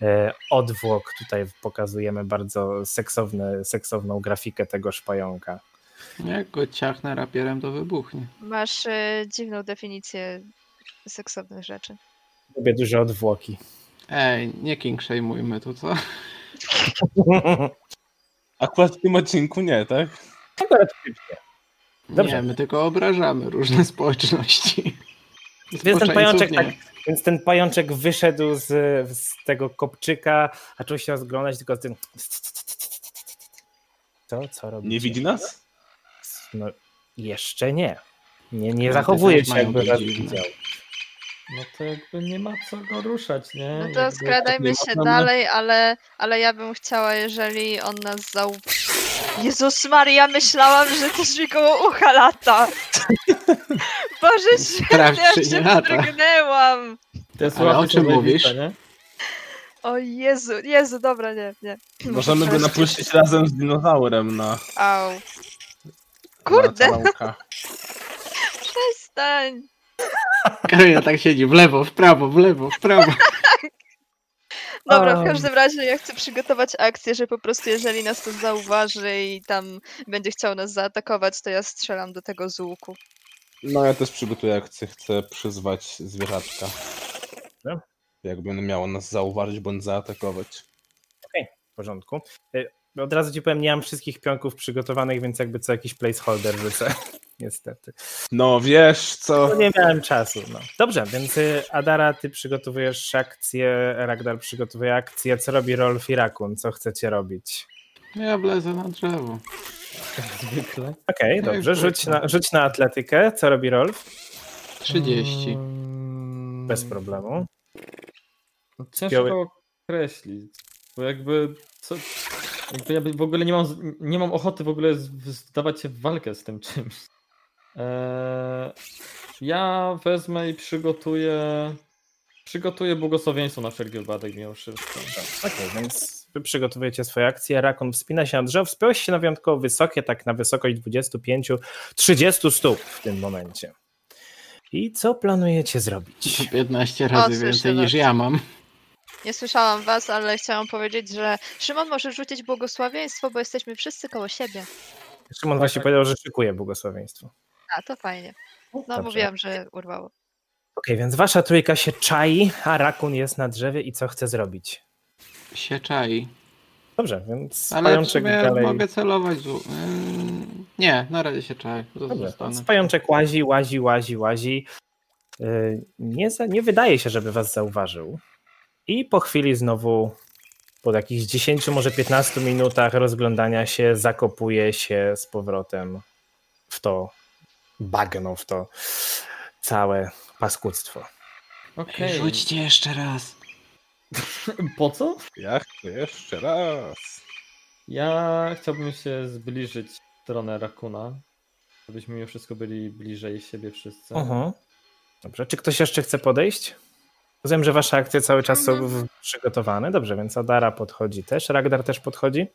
B: e, odwłok. Tutaj pokazujemy bardzo seksowny, seksowną grafikę tegoż pająka.
F: Jak go ciachnę rapierem, to wybuchnie.
E: Masz y, dziwną definicję seksownych rzeczy.
B: Lubię duże odwłoki.
F: Ej, nie kingshamujmy tu, co?
D: Akurat w tym odcinku nie, tak?
B: Akurat szybkie. Dobrze.
F: Nie, my tylko obrażamy różne społeczności.
B: Więc ten pajączek
F: Społeczeństwo
B: tak Więc ten pajączek wyszedł z, z tego kopczyka, a czuł się rozglądać tylko z tym. To, co robi?
D: Nie widzi nas?
B: No, jeszcze nie. Nie, nie
F: No,
B: zachowuje
F: też
B: się,
F: mają
B: jakby
F: być
B: was
F: dziwne.
B: widział.
A: No to jakby nie ma co go ruszać, nie?
E: No to
A: Jakby-
E: skradajmy
D: tak nie
E: się
D: ma tam-
E: dalej, ale, ale ja bym chciała, jeżeli on nas zauważy. Jezus Maria, myślałam, że coś mi koło ucha lata. Boże święty, ja
F: Sprawdź, czy
E: się
F: nie lata.
E: wzdrygnęłam.
A: To jest
F: Ale
A: łatwe,
F: o czym
A: są zajebiste,
F: mówisz?
A: nie?
E: O Jezu, Jezu, dobra, nie, nie.
D: Możemy go napuścić razem z dinozaurem na,
E: Au.
D: na
E: Kurde,
D: całka.
E: przestań.
F: Karolina tak siedzi w lewo, w prawo, w lewo, w prawo.
E: Dobra,
B: Am.
E: w każdym razie ja chcę przygotować akcję, że po prostu jeżeli nas to zauważy i tam będzie chciał nas zaatakować, to ja strzelam do tego z łuku.
D: No ja też przygotuję akcję, chcę przyzwać zwierzaczka.
B: Dobrze.
D: Tak? Jak będę miało nas zauważyć bądź zaatakować.
B: W porządku. Y, Od razu ci powiem, nie mam wszystkich pionków przygotowanych, więc jakby co jakiś placeholder rzucę. Niestety.
D: No wiesz co?
B: No nie miałem czasu. No. Dobrze, więc y, Adara, ty przygotowujesz akcję, Ragnar przygotowuje akcję. Co robi Rolf i Rakun? Co chcecie robić?
F: No Ja wlezę na drzewo.
A: Jak zwykle.
B: Okej,
F: No i
B: dobrze. Rzuć
F: kurczę.
B: na, rzuć na atletykę. Co robi Rolf?
F: 30.
A: Mm,
B: Bez problemu.
A: no Ciężko
B: Biały-
A: określić, bo jakby co... Jakby ja w ogóle nie mam, z- nie mam ochoty w ogóle z- zdawać się w walkę z tym czymś. Eee, ja wezmę i przygotuję Przygotuję błogosławieństwo na wszelki wypadek mimo wszystko.
B: Okej, więc wy przygotowujecie swoje akcje. Rakon wspina się na drzewo, wspiąłeś się na wyjątkowo wysokie, tak na wysokość 25-30 stóp w tym momencie. I co planujecie zrobić?
F: 15
E: O,
F: razy
E: słyszę
F: więcej
E: was.
F: niż ja mam.
E: Nie słyszałam was, ale chciałam powiedzieć, że Szymon może rzucić błogosławieństwo, bo jesteśmy wszyscy koło siebie.
B: Szymon właśnie powiedział, że szykuje błogosławieństwo.
E: A, to fajnie. No
B: Dobrze.
E: mówiłam, że urwało.
B: Okej, więc wasza trójka się czai, a rakun jest na drzewie i co chce zrobić?
F: Się czai.
B: Dobrze, więc
F: Ale w
B: pajączek
F: sumie
B: dalej...
F: mogę celować z... u- Ym, Nie, na razie się czai.
B: Dobrze, więc
F: Zostanę.
B: pajączek łazi, łazi, łazi, łazi. Yy, Nie, za, nie wydaje się, żeby was zauważył. I po chwili znowu, po jakichś 10, może 15 minutach rozglądania się, zakopuje się z powrotem w to bagno, w to całe paskudztwo.
A: Okej.
F: Rzućcie jeszcze raz.
A: Po co?
D: Jak to jeszcze raz?
A: Ja chciałbym się zbliżyć w stronę Rakuna, żebyśmy mimo wszystko byli bliżej siebie wszyscy.
B: Mhm. Dobrze, czy ktoś jeszcze chce podejść? Rozumiem, że wasze akcje cały czas są w- przygotowane. Dobrze, więc Adara podchodzi też, Ragdar też podchodzi.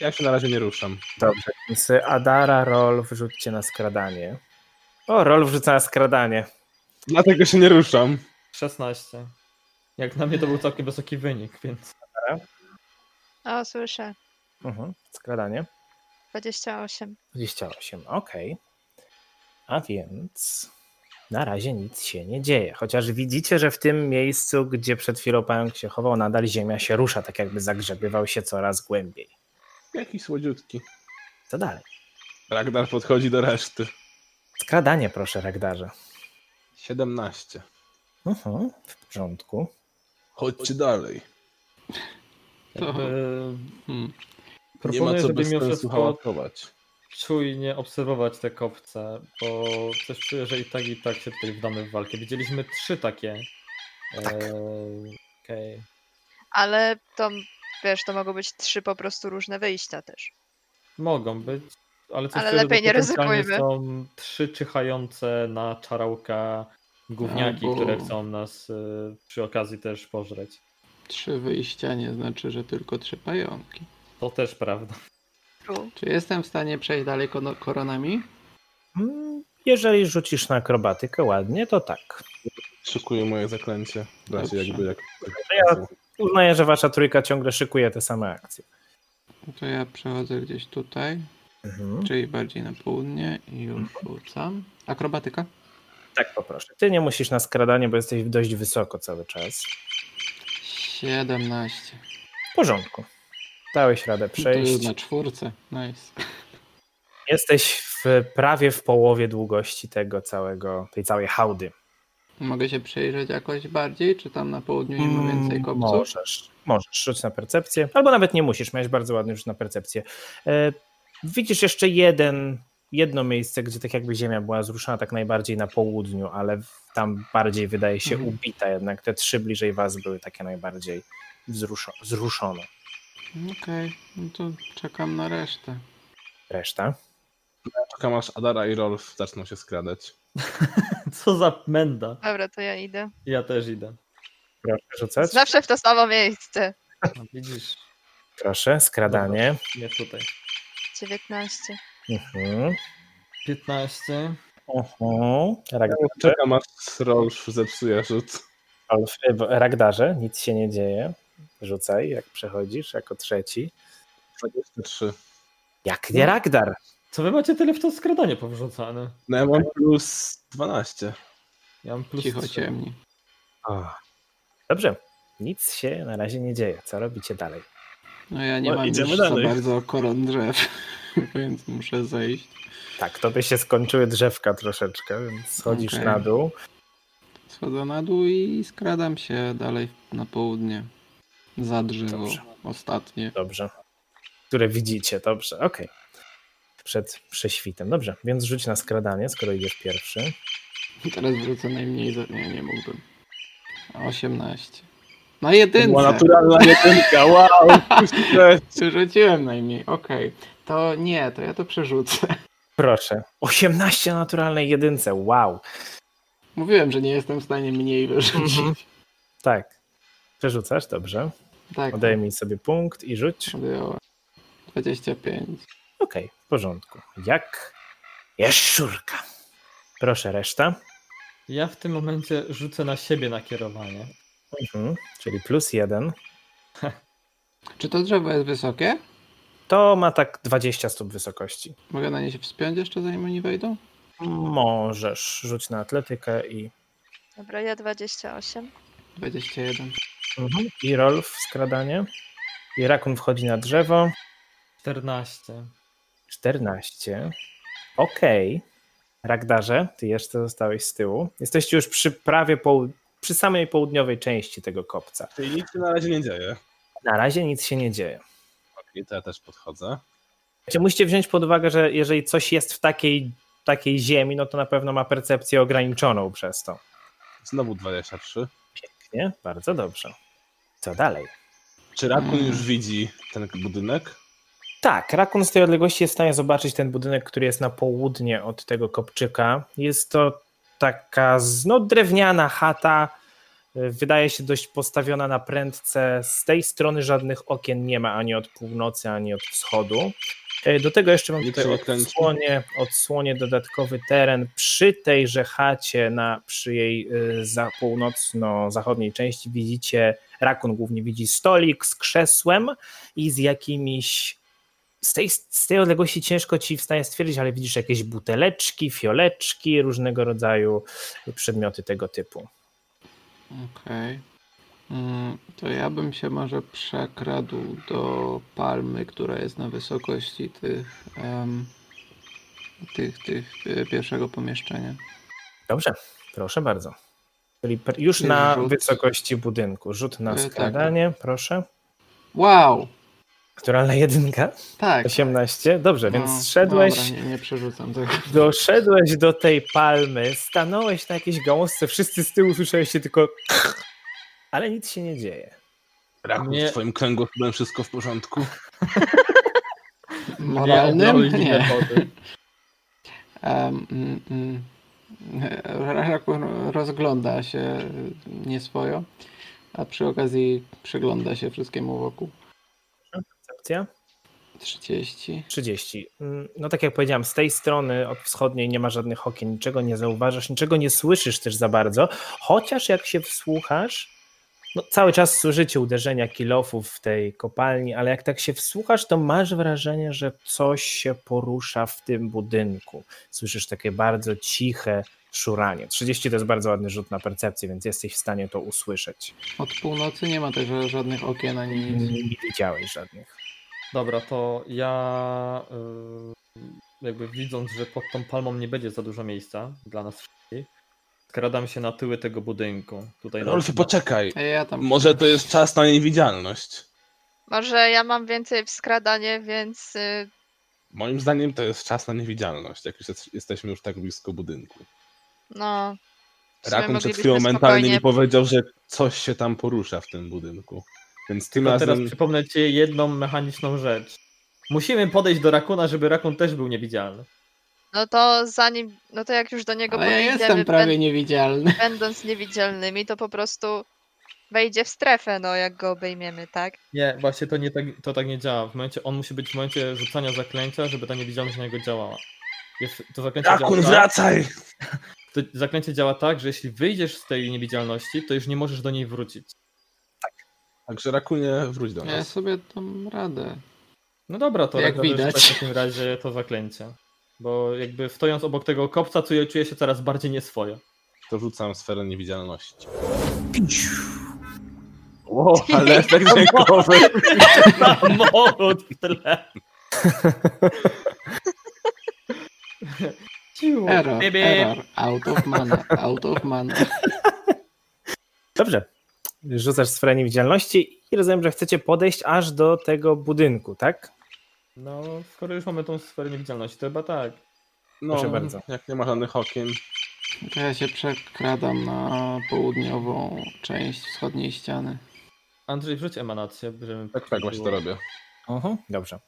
D: Ja się na razie nie ruszam.
B: Dobrze, więc y, Adara, Rol, wrzućcie na skradanie. O, Rol wrzuca na skradanie.
D: Dlatego się nie ruszam.
A: 16. Jak na mnie to był całkiem wysoki wynik, więc
E: O, słyszę.
B: Mhm, skradanie.
E: 28.
B: 28, okej. A więc na razie nic się nie dzieje. Chociaż widzicie, że w tym miejscu, gdzie przed chwilą pająk się chował, nadal ziemia się rusza, tak jakby zagrzebywał się coraz głębiej.
D: Jaki słodziutki.
B: Co dalej?
D: Ragnar podchodzi do reszty.
B: Skradanie, proszę, Ragdarze.
D: 17.
B: Mhm, w porządku.
D: Chodźcie dalej.
F: To-
A: jakby
F: Hmm.
D: Nie ma
A: proponuję,
D: co
A: żeby
D: bez
A: mimo
D: sensu
A: wszystko
D: hałatować.
A: czujnie obserwować te kopce, bo też czuję, że i tak i tak się tutaj wdamy w walkę. Widzieliśmy trzy takie.
B: Tak.
A: Eee, Okej.
E: Ale to, wiesz, to mogą być trzy po prostu różne wyjścia też.
A: Mogą być, ale coś
E: Ale
A: czuję, że
E: lepiej nie
A: potencjalnie
E: ryzykujmy.
A: Są trzy czyhające na czarałka gówniaki,
F: Albo-
A: które chcą nas y, przy okazji też pożreć.
F: Trzy wyjścia nie znaczy, że tylko trzy pająki.
A: To też prawda.
E: True.
F: Czy jestem w stanie przejść dalej kono- koronami?
B: Mm, Jeżeli rzucisz na akrobatykę ładnie, to tak.
D: Szykuję moje zaklęcie. W razie
F: Dobrze.
D: jakby jak...
B: ja- Uznaję, że wasza trójka ciągle szykuje te same akcje.
F: No To ja przechodzę gdzieś tutaj,
B: Mhm.
F: czyli bardziej na południe i już rzucam. Akrobatyka?
B: Tak, poproszę. Ty nie musisz na skradanie, bo jesteś dość wysoko cały czas.
F: 17.
B: W porządku. Dałeś radę
F: No To
B: przejść.
F: jest na czwórce. Nice.
B: Jesteś w, prawie w połowie długości tego całego, tej całej hałdy.
F: Mogę się przyjrzeć jakoś bardziej, czy tam na południu nie ma więcej
B: Mm,
F: kopców?
B: Możesz, możesz rzuć na percepcję, albo nawet nie musisz, miałeś bardzo ładny rzut na percepcję. E, widzisz jeszcze jeden, jedno miejsce, gdzie tak jakby ziemia była zruszona tak najbardziej na południu, ale w- tam bardziej wydaje się
F: Mhm.
B: ubita jednak. Te trzy bliżej was były takie najbardziej wzruszo- zruszone.
F: Okej, no to czekam na resztę.
B: Reszta?
D: Czekam aż Adara i Rolf zaczną się skradać.
A: Co za menda.
E: Dobra, to ja idę.
A: Ja też idę.
B: Proszę rzucać.
E: Zawsze w to samo miejsce.
A: No, Widzisz,
B: Proszę, skradanie.
A: nie tutaj.
E: 19.
B: Mhm.
A: 15.
B: Mhm. Ragdarze.
D: Czekam aż Rolf zepsuje rzut.
B: Alf- e, w- Ragdarze, nic się nie dzieje. Rzucaj, jak przechodzisz, jako trzeci.
D: 23.
B: Jak nie Ragdar?
A: Co wy macie tyle w to skradanie powrzucane?
D: No ja mam plus 12.
A: Ja mam plus
F: Cicho
A: trzy.
F: ciemni.
B: O. Dobrze. Nic się na razie nie dzieje. Co robicie dalej?
F: No ja nie
D: No,
F: mam już
D: idziemy
F: za
D: dalej.
F: bardzo koron drzew, więc muszę zejść.
B: Tak, to by się skończyły drzewka troszeczkę, więc schodzisz
F: Okej.
B: na dół.
F: Schodzę na dół i skradam się dalej na południe. Za drzewo
B: Dobrze.
F: ostatnie.
B: Dobrze. Które widzicie, dobrze, okej. Przed prześwitem. Dobrze, więc rzuć na skradanie, skoro idziesz pierwszy.
F: Teraz wrócę najmniej za... Nie, nie mógłbym. 18. Na jedynce!
D: naturalna jedynka, wow!
F: Rzuciłem najmniej, okej. To nie, to ja to przerzucę.
B: Proszę. 18 naturalnej jedynce, wow. Mhm.
F: Mówiłem, że nie jestem w stanie mniej wyrzucić.
B: Tak. Przerzucasz, dobrze.
F: Tak.
B: Odejmij sobie punkt i rzuć.
F: Odjąłem. 25.
B: Okej, w porządku. Jak jaszczurka. Proszę, reszta.
A: Ja w tym momencie rzucę na siebie nakierowanie.
B: Mhm. Czyli plus jeden.
F: Czy to drzewo jest wysokie?
B: To ma tak 20 stóp wysokości.
F: Mogę na nie się wspiąć jeszcze zanim oni wejdą?
B: Możesz rzuć na atletykę i,
E: Dobra, ja 28.
F: 21.
B: mhm. i Rolf w skradanie. I Rakun wchodzi na drzewo.
A: 14.
B: 14. Okej. Ragdarze, ty jeszcze zostałeś z tyłu. Jesteście już przy prawie poł- przy samej południowej części tego kopca.
D: Czyli nic się na razie nie dzieje.
B: Na razie nic się nie dzieje.
D: I to ja też podchodzę.
B: Znaczy, Musicie wziąć pod uwagę, że jeżeli coś jest w takiej, takiej ziemi, no to na pewno ma percepcję ograniczoną przez to.
D: Znowu 23.
B: Nie? Bardzo dobrze. Co dalej?
D: Czy Rakun już widzi ten budynek?
B: Tak, Rakun z tej odległości jest w stanie zobaczyć ten budynek, który jest na południe od tego kopczyka. Jest to taka z- no, drewniana chata, y, wydaje się dość postawiona na prędce. Z tej strony żadnych okien nie ma, ani od północy, ani od wschodu. Y, Do tego jeszcze mam
D: Nie
B: tutaj
D: trzeba kręcić.
B: odsłonie, odsłonie dodatkowy teren przy tejże chacie, na, przy jej y, za północno-zachodniej części widzicie, Rakun głównie widzi stolik z krzesłem i z jakimiś z tej, z tej odległości ciężko ci w stanie stwierdzić, ale widzisz jakieś buteleczki, fioleczki, różnego rodzaju przedmioty tego typu.
F: Okej. Mm, To ja bym się może przekradł do palmy, która jest na wysokości tych, em, tych, tych e, pierwszego pomieszczenia.
B: Dobrze, proszę bardzo. Czyli pr- już
F: Czyli
B: na
F: rzut.
B: wysokości budynku. Rzut
F: E,
B: na
F: tak.
B: skradanie, proszę.
F: Wow!
B: Naturalna jedynka,
F: Tak.
B: 18. Dobrze,
F: No,
B: więc szedłeś,
F: Dobra, nie, nie przerzucam tego.
B: doszedłeś do tej palmy, stanąłeś na jakiejś gałązce, wszyscy z tyłu słyszeliście tylko ale nic się nie dzieje.
D: Rakun,
A: Nie.
D: w twoim kręgosłupem wszystko w porządku?
F: Moralnym?
A: oblałem
F: Nie.
A: wody.
F: Um, mm, mm. Rakun rozgląda się nieswojo, a przy okazji przygląda się wszystkiemu wokół.
B: Percepcja?
F: 30.
B: 30. Mm, No tak jak powiedziałem, z tej strony od wschodniej nie ma żadnych okien, niczego nie zauważasz, niczego nie słyszysz też za bardzo, chociaż jak się wsłuchasz, no cały czas słyszycie uderzenia kilofów w tej kopalni, ale jak tak się wsłuchasz, to masz wrażenie, że coś się porusza w tym budynku. Słyszysz takie bardzo ciche szuranie. 30 to jest bardzo ładny rzut na percepcję, więc jesteś w stanie to usłyszeć.
F: Od północy nie ma też żadnych okien ani nic.
B: Nie widziałeś żadnych.
A: Dobra, to ja y, jakby widząc, że pod tą palmą nie będzie za dużo miejsca dla nas wszystkich, skradam się na tyły tego budynku. Tutaj na-
D: Rolfie, poczekaj.
F: Ej, ja tam.
D: Może to jest czas na niewidzialność.
E: Może ja mam więcej w skradanie, więc y,
D: Moim zdaniem to jest czas na niewidzialność, jak już jest, jesteśmy już tak blisko budynku.
E: no. w sumie
D: Rakun przed
E: moglibyśmy
D: chwilą mentalnie mi
E: spokojnie-
D: powiedział, że coś się tam porusza w tym budynku. Więc tym
A: Tylko teraz
D: razem
A: przypomnę ci jedną mechaniczną rzecz. Musimy podejść do Rakuna, żeby Rakun też był niewidzialny.
E: No to zanim, no to jak już do niego
F: Ale ja
E: podejdziemy,
F: jestem prawie niewidzialny.
E: bę- będąc niewidzialnymi, to po prostu wejdzie w strefę, no jak go obejmiemy, tak?
A: Nie, właśnie to, nie tak, to tak nie działa. W momencie, on musi być w momencie rzucania zaklęcia, żeby ta niewidzialność na niego działała. Jest, to zaklęcie działa
D: Rakun,
A: tak,
D: wracaj!
A: to zaklęcie działa tak, że jeśli wyjdziesz z tej niewidzialności, to już nie możesz do niej wrócić.
D: Także Rakunie, wróć do
F: Ja
D: nas.
F: sobie dam radę.
A: No dobra, to
F: Jak
A: jak widać.
F: widać.
A: w takim razie to zaklęcie. Bo jakby stojąc obok tego kopca, czuję, czuję się coraz bardziej nieswojo.
D: To rzucam sferę niewidzialności. Wow, ale efekt dźwiękowy.
A: Samochód w tle. Ciu,
F: Error,
A: bip, bip.
F: error. Out of mana, out of mana.
B: Dobrze. Rzucasz sferę niewidzialności i rozumiem, że chcecie podejść aż do tego budynku, tak?
A: No, skoro już mamy tą sferę niewidzialności, to chyba tak.
D: No,
B: Proszę bardzo.
D: jak nie ma żadnych okien,
F: To ja się przekradam na południową część wschodniej ściany.
A: Andrzej, wrzuć emanację, żebym...
D: tak, tak właśnie to robię.
B: Dobrze.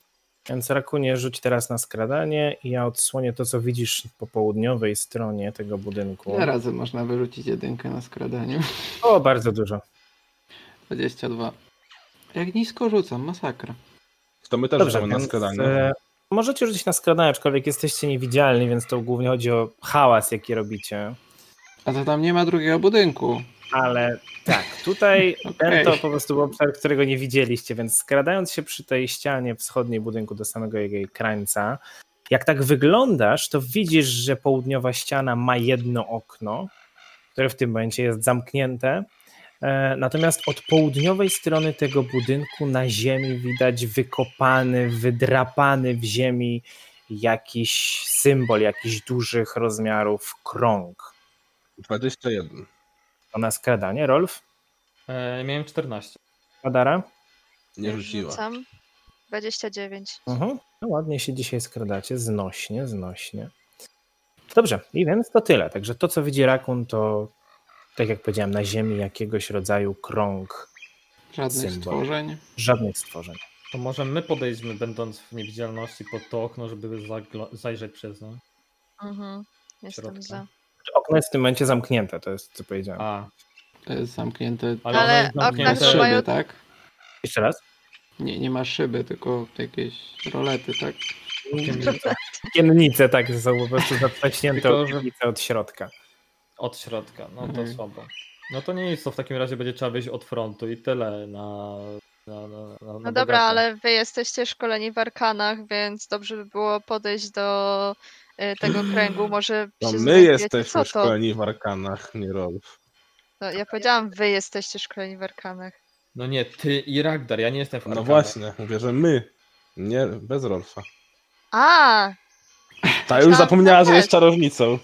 B: Więc Rakunie rzuć teraz na skradanie i ja odsłonię to, co widzisz po południowej stronie tego budynku.
F: Ile razy można wyrzucić jedynkę na skradaniu?
B: O, bardzo dużo.
F: 22. Jak nisko rzucam, masakra.
D: To my też
B: Dobrze,
D: rzucamy na
B: więc,
D: skradanie.
B: e, Możecie rzucić na skradanie, aczkolwiek jesteście niewidzialni, więc to głównie chodzi o hałas, jaki robicie.
F: A to tam nie ma drugiego budynku.
B: Ale tak, tutaj ten
F: Okej.
B: to po prostu był obszar, którego nie widzieliście, więc skradając się przy tej ścianie wschodniej budynku do samego jej krańca, jak tak wyglądasz, to widzisz, że południowa ściana ma jedno okno, które w tym momencie jest zamknięte. E, Natomiast od południowej strony tego budynku na ziemi widać wykopany, wydrapany w ziemi jakiś symbol, jakiś dużych rozmiarów krąg.
D: 21.
B: To na skradanie, Rolf?
A: E, miałem 14.
B: Adara?
D: Nie
E: Już
D: rzuciła.
E: Rzucam. 29.
B: Mhm. No ładnie się dzisiaj skradacie, znośnie, znośnie. Dobrze, i więc to tyle. Także to, co widzi rakun, to tak jak powiedziałem, na ziemi jakiegoś rodzaju krąg
F: Żadnych
B: Symbol.
F: stworzeń.
B: żadnych stworzeń.
A: To może my podejdźmy, będąc w niewidzialności, pod to okno, żeby zaglo- zajrzeć przez nie.
E: Mhm. Jestem
A: Środka.
E: za.
B: Okno jest w tym momencie zamknięte, to jest co powiedziałem.
A: A,
F: To jest zamknięte.
A: ale, ono
E: Ale
A: jest
E: okna
F: Nie ma
A: zamknięte.
E: są mają-
F: szyby, tak?
B: Jeszcze raz.
F: Nie, nie ma szyby, tylko jakieś rolety, tak?
B: Kiennice tak są po prostu zatrzaśnięte
A: Tylko,
B: od,
A: że-
B: kiennice od środka.
A: Od środka, no to
F: Mhm.
A: słabo. No to nie jest to, w takim razie będzie trzeba wyjść od frontu i tyle na... na, na, na
E: No dobra, ale wy jesteście szkoleni w arkanach, więc dobrze by było podejść do y, tego kręgu. Może
D: To No
E: się
D: my
E: zastanawiacie,
D: jesteśmy
E: co to?
D: szkoleni w arkanach, nie Rolf.
E: No, ja powiedziałam, wy jesteście szkoleni w arkanach.
A: No nie, ty i Ragdar, ja nie jestem w
D: No
A: arkanach.
D: właśnie, mówię, że my. Nie, bez Rolfa.
E: A,
D: Ta
E: Tak,
D: już zapomniała, że
E: też.
D: jest czarownicą.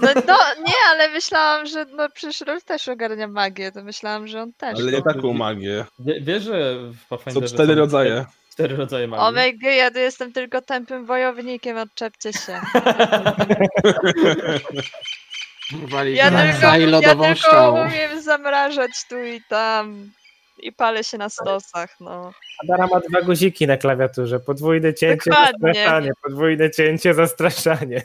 E: no, no nie, ale myślałam, że no przecież Rolf też ogarnia magię, to myślałam, że on też.
D: Ale
E: no.
D: nie taką magię.
A: Wie- Wiesz, że w
D: Są
A: Pathfinderze
D: cztery rodzaje.
A: Cztery rodzaje
E: O
A: magii.
E: my god, ja tu jestem tylko tępym wojownikiem, odczepcie się.
F: Rwali
E: Ja
F: za i
E: tylko, ja
F: lodową
E: tylko
F: szczałą.
E: umiem zamrażać tu i tam i palę się na stosach, no.
B: Adara ma dwa guziki na klawiaturze. Podwójne cięcie,
E: Dokładnie.
B: zastraszanie. Podwójne cięcie, zastraszanie.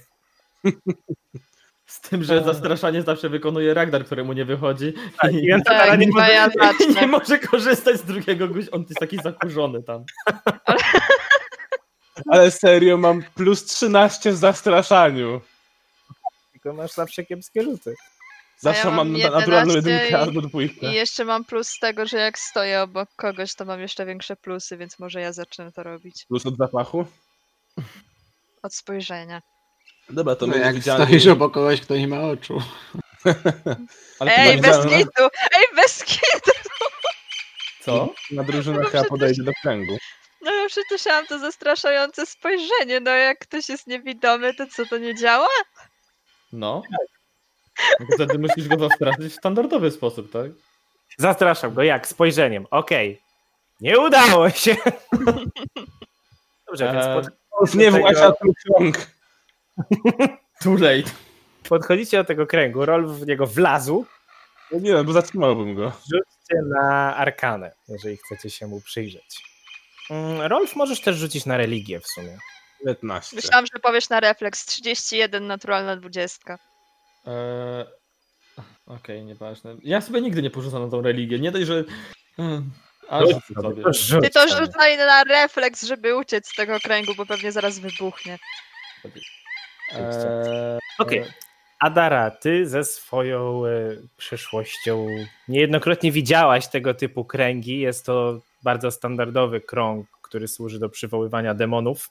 A: Z tym, że zastraszanie zawsze wykonuje Ragdar, któremu nie wychodzi.
B: Tak, i więc Adara
E: Tak,
B: nie
E: chyba
B: może
E: ja
A: I nie
E: zacznę.
A: może korzystać z drugiego guź. On jest taki zakurzony tam.
D: Ale serio, mam plus 13 w zastraszaniu.
B: tylko masz zawsze kiepskie rzuty.
D: Zawsze
E: A ja
D: mam
E: mam
D: na- naturalną
E: 11
D: jedynkę
E: i-
D: albo dwójkę.
F: Tak.
E: I jeszcze mam plus z tego, że jak stoję obok kogoś, to mam jeszcze większe plusy, więc może ja zacznę to robić.
D: Plus od zapachu.
E: Od spojrzenia.
D: Dobra, to
F: No
D: my
F: jak
D: widziałem.
F: stoisz obok kogoś, kto nie ma oczu.
D: Ale
E: Ej,
D: to
E: bez
D: widziałem
E: kitu! Ej, bez kitu!
A: Co?
D: na drużynę
E: Dobrze,
D: chyba
E: to
D: podejdzie do kręgu.
E: No ja przecież miałam to zastraszające spojrzenie, no jak ktoś jest niewidomy, to co, to nie działa?
A: No.
D: Tak.
A: Tylko Wtedy musisz go zastraszyć w standardowy sposób, tak?
B: Zastraszam go, jak? Spojrzeniem. Okej. Nie udało się. Dobrze, więc
A: Eee.
B: pod,
D: Nie
B: tego-
D: właśnie ten krąg.
A: Too late.
B: podchodzicie do tego kręgu, Rolf w niego wlazł.
D: No nie wiem, bo zatrzymałbym go.
B: Rzućcie na arkanę, jeżeli chcecie się mu przyjrzeć. Mm, Rolf, możesz też rzucić na religię w sumie.
D: 19.
E: Myślałam, że powiesz na refleks. 31, naturalna 20.
A: Eee, Okej, nieważne. Ja sobie nigdy nie porzucam na tą religię. Nie dość, że. Hmm, A
B: Rzuć
A: rzucę sobie.
B: To rzuć
E: Ty to
B: sobie.
E: rzucaj na refleks, żeby uciec z tego kręgu, bo pewnie zaraz wybuchnie.
A: Eee,
B: Okej. Adara, ty ze swoją e, przeszłością niejednokrotnie widziałaś tego typu kręgi. Jest to bardzo standardowy krąg, który służy do przywoływania demonów.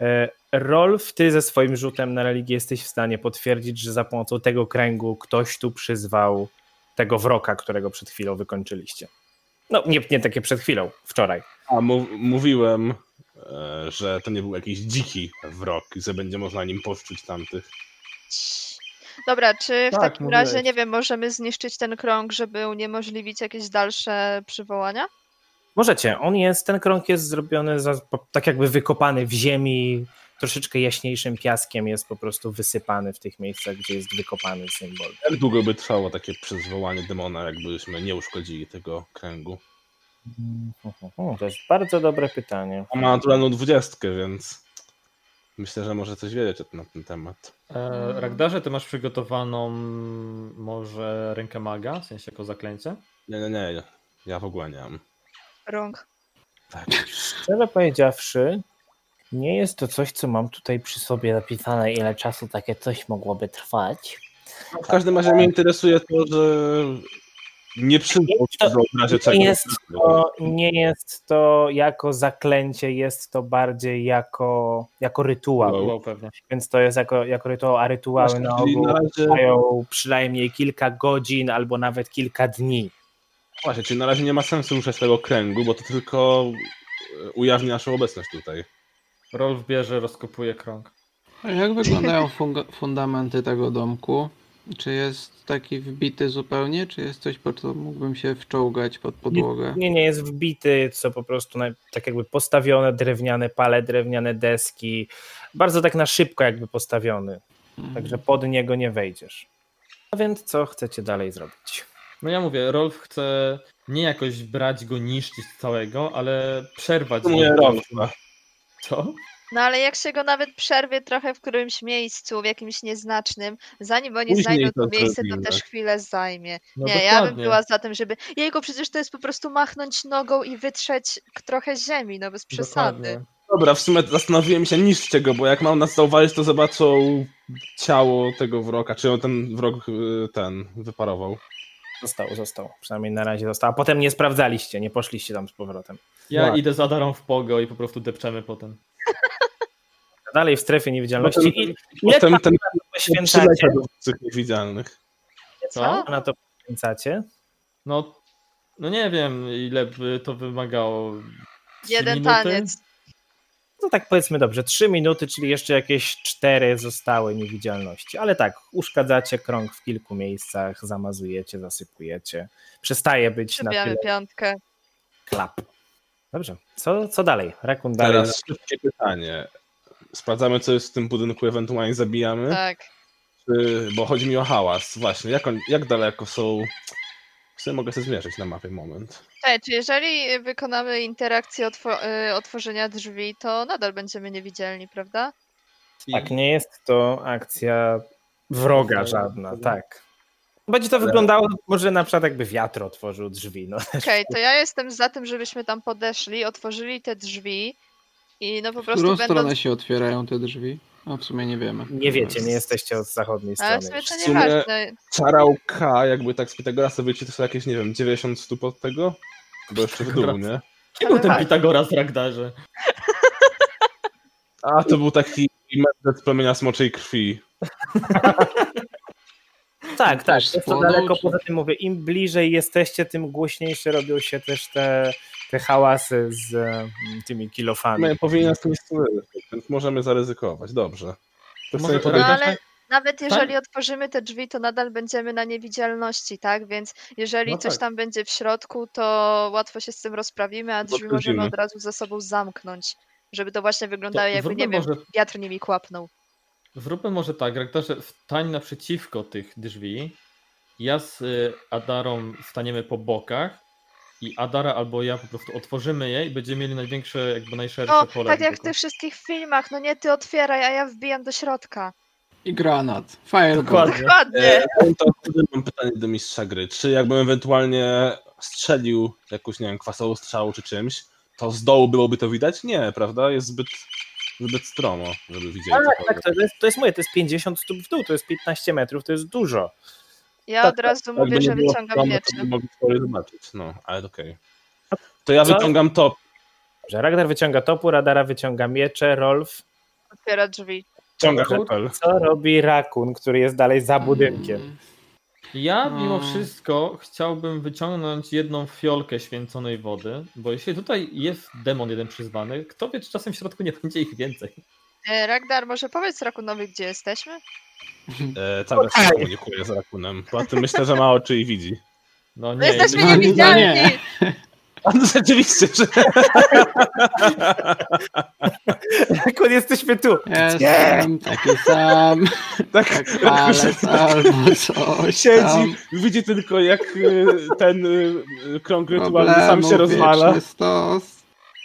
B: E, Rolf, ty ze swoim rzutem na religię jesteś w stanie potwierdzić, że za pomocą tego kręgu ktoś tu przyzwał tego wroka, którego przed chwilą wykończyliście. No, nie, nie takie przed chwilą, wczoraj.
D: A mu- mówiłem, e, że to nie był jakiś dziki wrok i że będzie można nim poszczuć tamtych.
E: Dobra, czy w
A: Tak,
E: takim
A: mówiłeś.
E: razie, nie wiem, możemy zniszczyć ten krąg, żeby uniemożliwić jakieś dalsze przywołania?
B: Możecie. On jest, ten krąg jest zrobiony za, po, tak jakby wykopany w ziemi, troszeczkę jaśniejszym piaskiem jest po prostu wysypany w tych miejscach, gdzie jest wykopany symbol.
D: Jak długo by trwało takie przyzwołanie demona, jakbyśmy nie uszkodzili tego kręgu?
B: O, to jest bardzo dobre pytanie.
D: A ma naturalną dwudziestkę, więc myślę, że może coś wiedzieć na ten temat.
A: Eee, Ragdarze, ty masz przygotowaną może rękę maga, w sensie jako zaklęcie?
D: Nie, nie, nie. Ja w ogóle nie mam.
E: Rąk.
D: Tak.
B: Szczerze powiedziawszy, nie jest to coś, co mam tutaj przy sobie napisane, ile czasu takie coś mogłoby trwać.
D: No, w każdym razie mnie interesuje to, że nie przyznał się do w razie czego.
B: Nie jest, to, nie jest to jako zaklęcie, jest to bardziej jako, jako rytuał.
D: Wow,
A: pewnie.
B: Więc to jest jako, jako rytuał, a rytuały
D: Właśnie,
B: na
D: czyli
B: ogół
D: na razie-
B: trwają przynajmniej kilka godzin albo nawet kilka dni.
D: Właśnie, czyli na razie nie ma sensu ruszać tego kręgu, bo to tylko e, ujawni naszą obecność tutaj.
A: Rolf bierze, rozkopuje krąg.
F: A jak wyglądają funga- fundamenty tego domku? Czy jest taki wbity zupełnie, czy jest coś, po co mógłbym się wczołgać pod podłogę?
B: Nie, nie jest wbity, co po prostu na, tak jakby postawione drewniane pale, drewniane deski. Bardzo tak na szybko jakby postawiony,
F: Mhm.
B: także pod niego nie wejdziesz. A więc co chcecie dalej zrobić?
A: No ja mówię, Rolf chce nie jakoś brać go, niszczyć całego, ale przerwać
D: To moje
A: go.
D: rolfa.
A: Co?
E: No ale jak się go nawet przerwie trochę w którymś miejscu, w jakimś nieznacznym, zanim oni
D: Później
E: znajdą
D: to
E: to miejsce, to
D: zrobimy.
E: też chwilę zajmie.
A: No
E: nie, ja bym była za tym, żeby... Jego przecież to jest po prostu machnąć nogą i wytrzeć k- trochę ziemi, no bez przesady.
A: Dokładnie.
D: Dobra, w sumie zastanowiłem się niszczcie go, bo jak mam nas zauważyć, to zobaczą ciało tego wroka, czy on ten wrok y, ten wyparował.
B: Zostało, zostało. Przynajmniej na razie zostało. A potem nie sprawdzaliście, nie poszliście tam z powrotem.
A: Ja
B: Ładnie.
A: idę za darą w pogo i po prostu depczemy potem.
B: Dalej w strefie niewidzialności. I ile
D: Potem ten
B: poświęcacie?
D: przyleciał do tych niewidzialnych.
E: Co?
B: Na to poświęcacie?
A: No, no nie wiem, ile by to wymagało. Trzy
E: Jeden
A: minuty?
E: taniec.
B: No tak powiedzmy dobrze, 3 minuty, czyli jeszcze jakieś 4 zostały niewidzialności. Ale tak, uszkadzacie krąg w kilku miejscach, zamazujecie, zasypujecie. Przestaje być na
E: Przybijamy
B: tyle
E: piątkę.
B: klap. Dobrze, co, co dalej? Rakun dalej.
D: Teraz szybkie pytanie. Sprawdzamy, co jest w tym budynku, ewentualnie zabijamy.
E: Tak.
D: Czy- Bo chodzi mi o hałas. Właśnie, jak, on, jak daleko są... W sumie mogę sobie zmierzyć na mapie, moment.
E: Ej, Tak, czy jeżeli wykonamy interakcję otwo- y, otworzenia drzwi, to nadal będziemy niewidzialni, prawda?
B: Tak, nie jest to akcja wroga żadna, tak. Będzie to wyglądało może na przykład jakby wiatr otworzył drzwi. No.
E: Okej, to ja jestem za tym, żebyśmy tam podeszli, otworzyli te drzwi i no po
F: W którą
E: prostu
F: stronę
E: będąc...
F: się otwierają te drzwi? No w sumie nie wiemy.
B: Nie wiecie, nie jesteście od zachodniej
E: Ale
B: strony.
E: w sumie to
D: W sumie-
E: nieważne.
D: Czarałka, jakby tak z Pitagorasa wyjdzie, to są jakieś, nie wiem, 90 stóp od tego? Bo jeszcze w dół, nie?
A: Kim był ten
E: tak.
A: Pitagoras w Ragdarze?
D: A, to był taki mędrzec plemienia smoczej krwi.
B: Tak, tak.
F: Też
B: Jest to
F: spłonął,
B: daleko
F: czy-
B: poza tym mówię. Im bliżej jesteście, tym głośniejsze robią się też te, te hałasy z e, tymi kilofami.
D: No, powinien nas to nie słyszeć, więc możemy zaryzykować, dobrze. To
A: Może
D: sobie
E: No
A: Ragnar-
D: podejdę.
E: ale nawet
A: Tak?
E: jeżeli otworzymy te drzwi, to nadal będziemy na niewidzialności, tak? Więc jeżeli
A: No
E: coś
A: tak.
E: tam będzie w środku, to łatwo się z tym rozprawimy, a drzwi możemy
D: Otworzymy.
E: od razu za sobą zamknąć, żeby to właśnie
A: To
E: wyglądało jakby,
A: zróbmy,
E: nie wiem,
A: może,
E: wiatr nimi kłapnął.
A: zróbmy może tak, Ragdarze, wstań naprzeciwko tych drzwi. Ja z y, Adarą staniemy po bokach i Adara albo ja po prostu otworzymy je i będziemy mieli największe, jakby najszersze
E: No,
A: pole.
E: tak jak w
A: widoku.
E: tych wszystkich filmach, no nie ty otwieraj, a ja wbijam do środka.
F: I granat. Fireball.
A: Dokładnie.
E: Ładnie.
D: E, To wtedy mam pytanie do mistrza gry. Czy jakbym ewentualnie strzelił jakąś, nie wiem, kwasową strzałą czy czymś, to z dołu byłoby to widać? Nie, prawda? Jest zbyt, zbyt stromo, żeby widzieć.
B: Tak,
D: cokolwiek.
B: tak, to jest, to jest moje, to jest 50 stóp w dół, to jest 15 metrów, to jest dużo.
E: Ja
D: tak,
E: od razu
D: Jakby
E: mówię,
D: nie
E: że
D: było
E: wyciągam
D: stromo,
E: miecze.
D: To by mogli to zobaczyć, no, ale okej. To ja
B: Co?
D: wyciągam top.
B: Że Ragnar wyciąga topór, Radara wyciąga miecze, Rolf.
E: Otwiera drzwi.
D: Wyciągam
A: Topór?
D: repel.
B: Co robi rakun, który jest dalej za budynkiem?
F: Mm.
A: Ja mimo
F: Mm.
A: wszystko chciałbym wyciągnąć jedną fiolkę święconej wody, bo jeśli tutaj jest demon jeden przyzwany, kto wie, czy czasem w środku nie będzie ich więcej.
E: E, Ragnar, może powiedz Rakunowi, gdzie jesteśmy?
D: E, cały czas komunikuję z rakunem. Poza tym myślę, że ma oczy i widzi.
A: No
E: No
A: nie,
E: jesteśmy
F: nie, nie,
E: niewidzialni!
F: No nie.
D: A no rzeczywiście, że...
B: Rakun, jesteśmy tu!
F: Jestem taki sam.
D: Tak,
F: Jak palec albo coś tam.
D: Siedzi, widzi tylko jak e, ten e, krąg rytualny sam się
F: Problemów
D: rozwala.
F: wieczny Stos,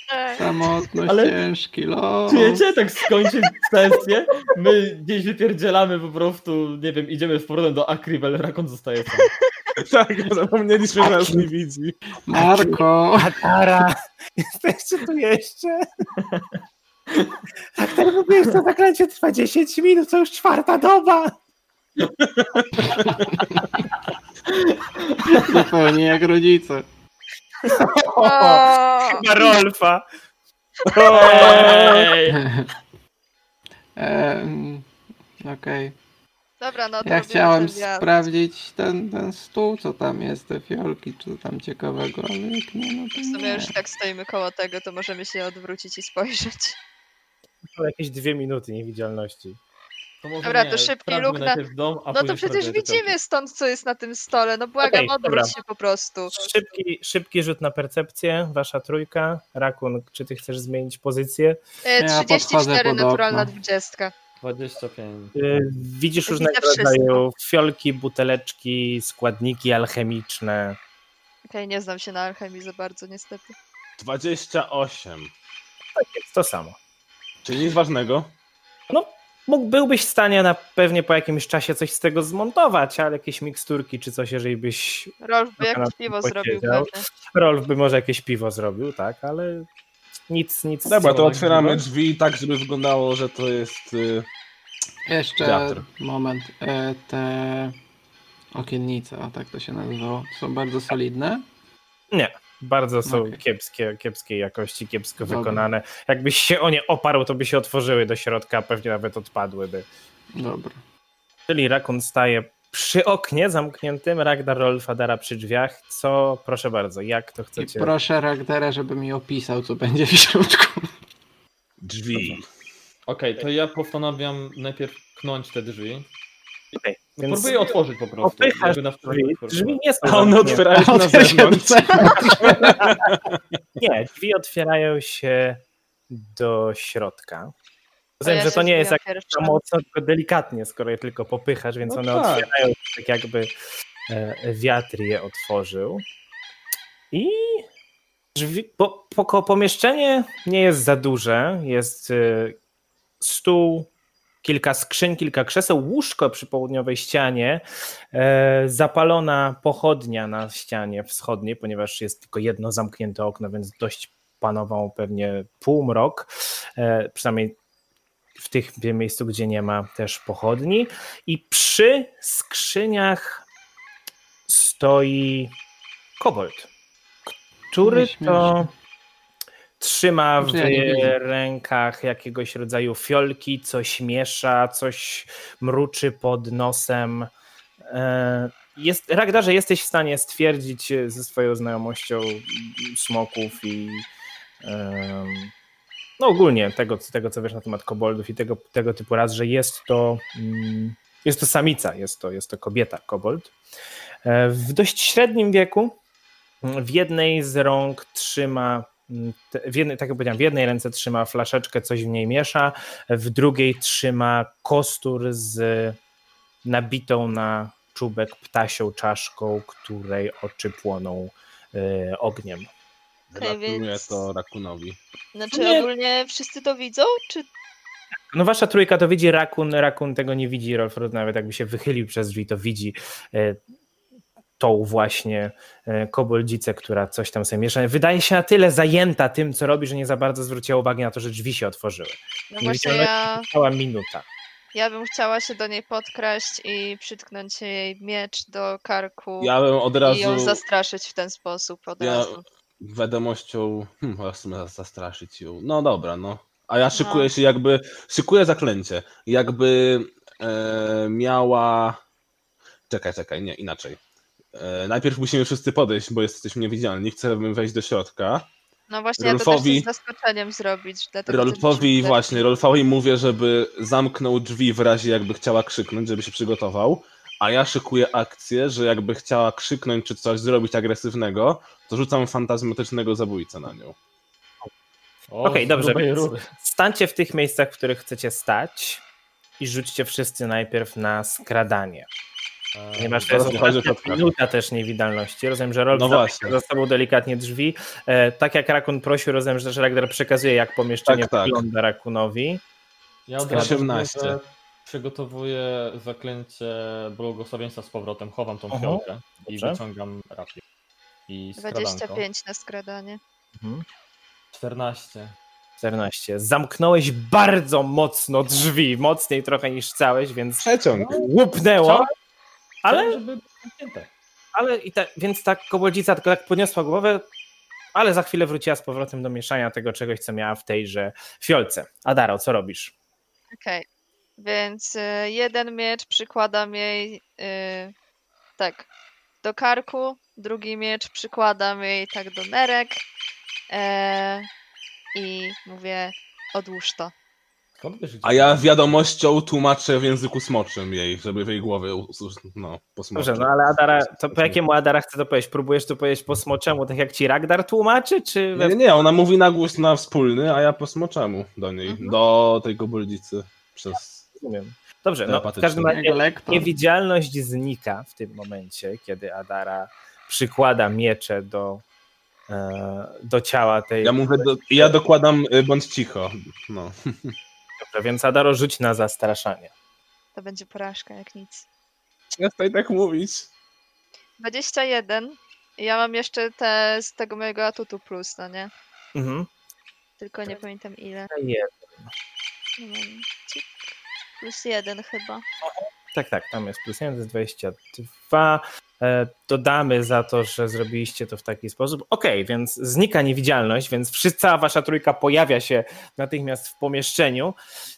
E: Tak.
F: samotność,
A: Ale-
F: ciężki los.
A: Czujecie? Tak skończy sesję, my gdzieś wypierdzielamy po prostu, nie wiem, idziemy z powrotem do Akrivel, Rakon zostaje sam.
D: Tak, zapomnieliśmy, że nas nie widzi.
F: Marko!
B: Atara! Jesteście tu jeszcze? A ten mówisz, to zaklęcie trwa 10 minut, to już czwarta doba!
F: Zupełnie jak rodzice.
E: O,
B: Na Rolfa!
A: Ej!
F: Em, Okej.
E: dobra, no to
F: Ja
E: robimy
F: chciałem
E: ten wjazd.
F: sprawdzić ten, ten stół, co tam jest, te fiolki, czy tam ciekawego, ale jak nie, no to
E: W sumie
F: nie.
E: już tak stoimy koło tego, to możemy się odwrócić i spojrzeć.
B: To jakieś dwie minuty niewidzialności.
G: To może
E: Dobra,
G: nie,
E: to szybki
G: sprawdźmy
E: luk na-
G: najpierw dom, a
E: No to
G: później
E: przecież
G: sprawdzimy te
E: widzimy stąd, co jest na tym stole. No błagam,
B: Okej, dobra.
E: odwróć się po prostu. E,
B: Szybki, szybki rzut na percepcję, wasza trójka. Rakun, czy ty chcesz zmienić pozycję?
E: E,
F: Ja podchodzę
E: 34,
F: pod
E: naturalna
F: okno.
E: 20.
G: piątki. 25.
B: Yy, Widzisz
E: Widzę
B: różnego
E: wszystko.
B: rodzaju fiolki, buteleczki, składniki alchemiczne.
E: Okej, nie znam się na alchemii za bardzo, niestety.
D: 28.
B: Tak jest, to samo.
D: Czyli nic ważnego.
B: Mógł, byłbyś w stanie na pewnie po jakimś czasie coś z tego zmontować, ale jakieś miksturki czy coś, jeżeli byś...
E: Rolf by
B: Dokonał
E: jakieś piwo zrobił
B: posiedział.
E: pewnie.
B: Rolf by może jakieś piwo zrobił, tak, ale nic, nic...
D: Dobra, to
B: co-
D: otwieramy drzwi tak, żeby wyglądało, że to jest... y,
F: Jeszcze
D: Wiatr.
F: moment. E, Te okiennice, o tak to się nazywało, są bardzo solidne.
B: Bardzo są
F: Okej.
B: kiepskie, kiepskiej jakości, kiepsko
F: Dobra.
B: wykonane. Jakbyś się o nie oparł, to by się otworzyły do środka, a pewnie nawet odpadłyby.
F: Dobra.
B: Czyli Rakun staje przy oknie zamkniętym, Ragnar Rolfa Dara przy drzwiach. Co, proszę bardzo, jak to
F: I
B: chcecie?
F: proszę Ragdera, żeby mi opisał, co będzie w środku.
D: Drzwi.
G: Okej, to ja postanawiam najpierw knąć te drzwi.
B: Okej,
G: No,
B: więc-
G: próbuję otworzyć po prostu.
B: Opychasz
G: jakby na wprost-
B: Drzwi,
G: wprost-
B: drzwi nie są
D: A one
B: zamknięte.
D: otwierają się na zewnątrz.
B: Nie, drzwi otwierają się do środka.
E: To
B: Rozumiem,
E: ja
B: że
E: się
B: to nie jest
E: zbijam
B: jak
E: pierwsza.
B: za mocno, tylko delikatnie, skoro je tylko popychasz, więc
D: No
B: one
D: tak.
B: otwierają się tak jakby e, wiatr je otworzył. I drzwi, po, po, pomieszczenie nie jest za duże. Jest e, stół, kilka skrzyń, kilka krzeseł, łóżko przy południowej ścianie, e, zapalona pochodnia na ścianie wschodniej, ponieważ jest tylko jedno zamknięte okno, więc dość panował pewnie półmrok, e, przynajmniej w tych miejscu, gdzie nie ma też pochodni. I przy skrzyniach stoi kobold, który
F: Nie
B: to
F: śmiesz.
B: trzyma w
F: Znaczy, ja nie widzę.
B: rękach jakiegoś rodzaju fiolki, coś miesza, coś mruczy pod nosem. E, Jest, Ragdarze, jesteś w stanie stwierdzić e, ze swoją znajomością smoków i em, no ogólnie tego, tego, co wiesz na temat koboldów i tego, tego typu raz, że jest to, mm, jest to samica, jest to, jest to kobieta kobold. E, W dość średnim wieku w jednej z rąk trzyma, mm, te- w jednej, tak jak powiedziałem, w jednej ręce trzyma flaszeczkę, coś w niej miesza, w drugiej trzyma kostur z nabitą na czubek ptasią czaszką, której oczy płoną e, ogniem.
E: Okej, więc-
D: Gratuluję to Rakunowi.
E: Znaczy
B: Nie.
E: ogólnie wszyscy to widzą? Czy
B: No wasza trójka to widzi, Rakun, Rakun tego nie widzi, Rolf nawet jakby się wychylił przez drzwi, to widzi e, tą właśnie e, koboldzicę, która coś tam sobie miesza. Wydaje się na tyle zajęta tym, co robi, że nie za bardzo zwróciła uwagi na to, że drzwi się otworzyły.
E: no
B: Nie
E: właśnie
B: widziałem.
E: ja,
B: Cała minuta.
E: ja bym chciała się do niej podkraść i przytknąć jej miecz do karku
D: Ja bym od
E: i
D: razu
E: ją zastraszyć w ten sposób od
D: Ja-
E: razu.
D: wiadomością... Hmm, chyba w sumie za- zastraszyć ją. No dobra, no. A ja szykuję się jakby... Szykuję zaklęcie. Jakby e, miała... Czekaj, czekaj, nie, inaczej. E, najpierw musimy wszyscy podejść, bo jesteśmy niewidzialni. Chcemy wejść do środka.
E: No właśnie ja to też
D: Rolfowi-
E: chcę z zaskoczeniem zrobić. dlatego chcę
D: Rolfowi
E: być-
D: właśnie, Rolfowi mówię, żeby zamknął drzwi w razie jakby chciała krzyknąć, żeby się przygotował, a ja szykuję akcję, że jakby chciała krzyknąć czy coś zrobić agresywnego, to rzucam fantazmatycznego zabójcę na nią.
G: O,
B: Okej,
G: z
B: dobrze,
G: grubej
B: więc-
G: rury.
B: Stańcie w tych miejscach, w których chcecie stać i rzućcie wszyscy najpierw na skradanie. Ponieważ to jest
D: Teraz Eee, wychodzi
B: ostatnia
D: kropka.
B: minuta też niewidalności. Rozumiem, że Rolf
D: No
B: zamyka
D: właśnie.
B: za sobą delikatnie drzwi. E, tak jak Rakun prosił, rozumiem, że też Ragnar przekazuje, jak pomieszczenie
D: Tak, tak.
B: wygląda Rakunowi.
G: Ja od razu
D: 18.
G: mówię, że przygotowuję zaklęcie błogosławieństwa z powrotem, chowam tą
B: Aha,
G: fiolkę i
B: dobrze.
G: wyciągam rapię. I skradanko.
E: 25 na skradanie.
G: 14.
B: 14. Zamknąłeś bardzo mocno drzwi, mocniej trochę niż chciałeś, więc
D: Przeciąg.
B: łupnęło.
G: Ale
B: Ale,
G: żeby było zamknięte.
B: ale i ta, więc ta koboldzica tylko tak podniosła głowę, ale za chwilę wróciła z powrotem do mieszania tego czegoś, co miała w tejże fiolce. Adaro, co robisz?
E: Okej. Więc y, jeden miecz przykładam jej y, tak do karku, drugi miecz przykładam jej tak do nerek e, i mówię odłóż to.
G: Skąd wiesz, gdzie
D: A ja wiadomością tłumaczę w języku smoczym jej, żeby w jej głowie usłyszeć, no, posmoczyć.
B: Dobrze, no ale Adara, to po jakiemu Adara chce to powiedzieć? Próbujesz to powiedzieć po smoczemu, tak jak ci Ragdar tłumaczy, czy we
D: Nie, nie, ona mówi na głos na wspólny, a ja po smoczemu do niej,
E: Mhm.
D: do tej koboldzicy przez...
B: rozumiem. Dobrze, no, w każdym
D: Telepatyczny.
B: razie
F: Jego lektor.
B: niewidzialność znika w tym momencie, kiedy Adara przykłada miecze do, e, do ciała tej.
D: Ja mówię, do, ja dokładam y, bądź cicho, no.
B: Dobrze, więc Adaro rzuć na zastraszanie.
E: To będzie porażka jak nic.
D: Ja tutaj tak mówić.
E: 21. Ja mam jeszcze te z tego mojego atutu plus, no nie?
B: Mhm.
E: Tylko nie pamiętam ile.
B: Je-
E: Momencik. Plus jeden chyba.
B: Tak, tak, tam jest plus 1, to jest 22. E, Dodamy za to, że zrobiliście to w taki sposób. Okej, więc znika niewidzialność, więc wszyscy, cała wasza trójka pojawia się natychmiast w pomieszczeniu.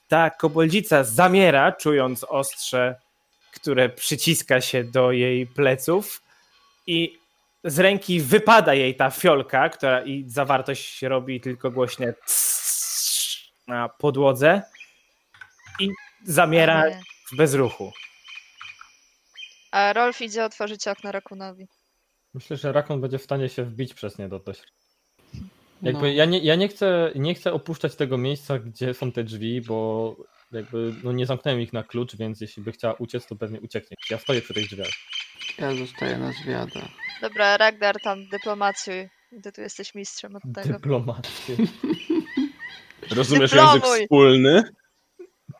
B: Ta koboldzica zamiera, czując ostrze, które przyciska się do jej pleców i z ręki wypada jej ta fiolka, która i zawartość robi tylko głośne tss na podłodze i zamiera
E: Nie.
B: w bezruchu.
E: A Rolf idzie otworzyć okno Rakunowi.
G: Myślę, że Rakon będzie w stanie się wbić przez nie do do środka. Jakby
F: No.
G: ja, nie, ja nie, chcę, nie chcę opuszczać tego miejsca, gdzie są te drzwi, bo jakby no nie zamknąłem ich na klucz, więc jeśli by chciała uciec, to pewnie ucieknie. Ja stoję przy tych drzwiach.
F: Ja zostaję na zwiadach.
E: Dobra, Ragnar tam dyplomacjuj. Ty tu jesteś mistrzem od tego.
G: Dyplomaty.
D: Rozumiesz
E: Dyplomuj!
D: język wspólny?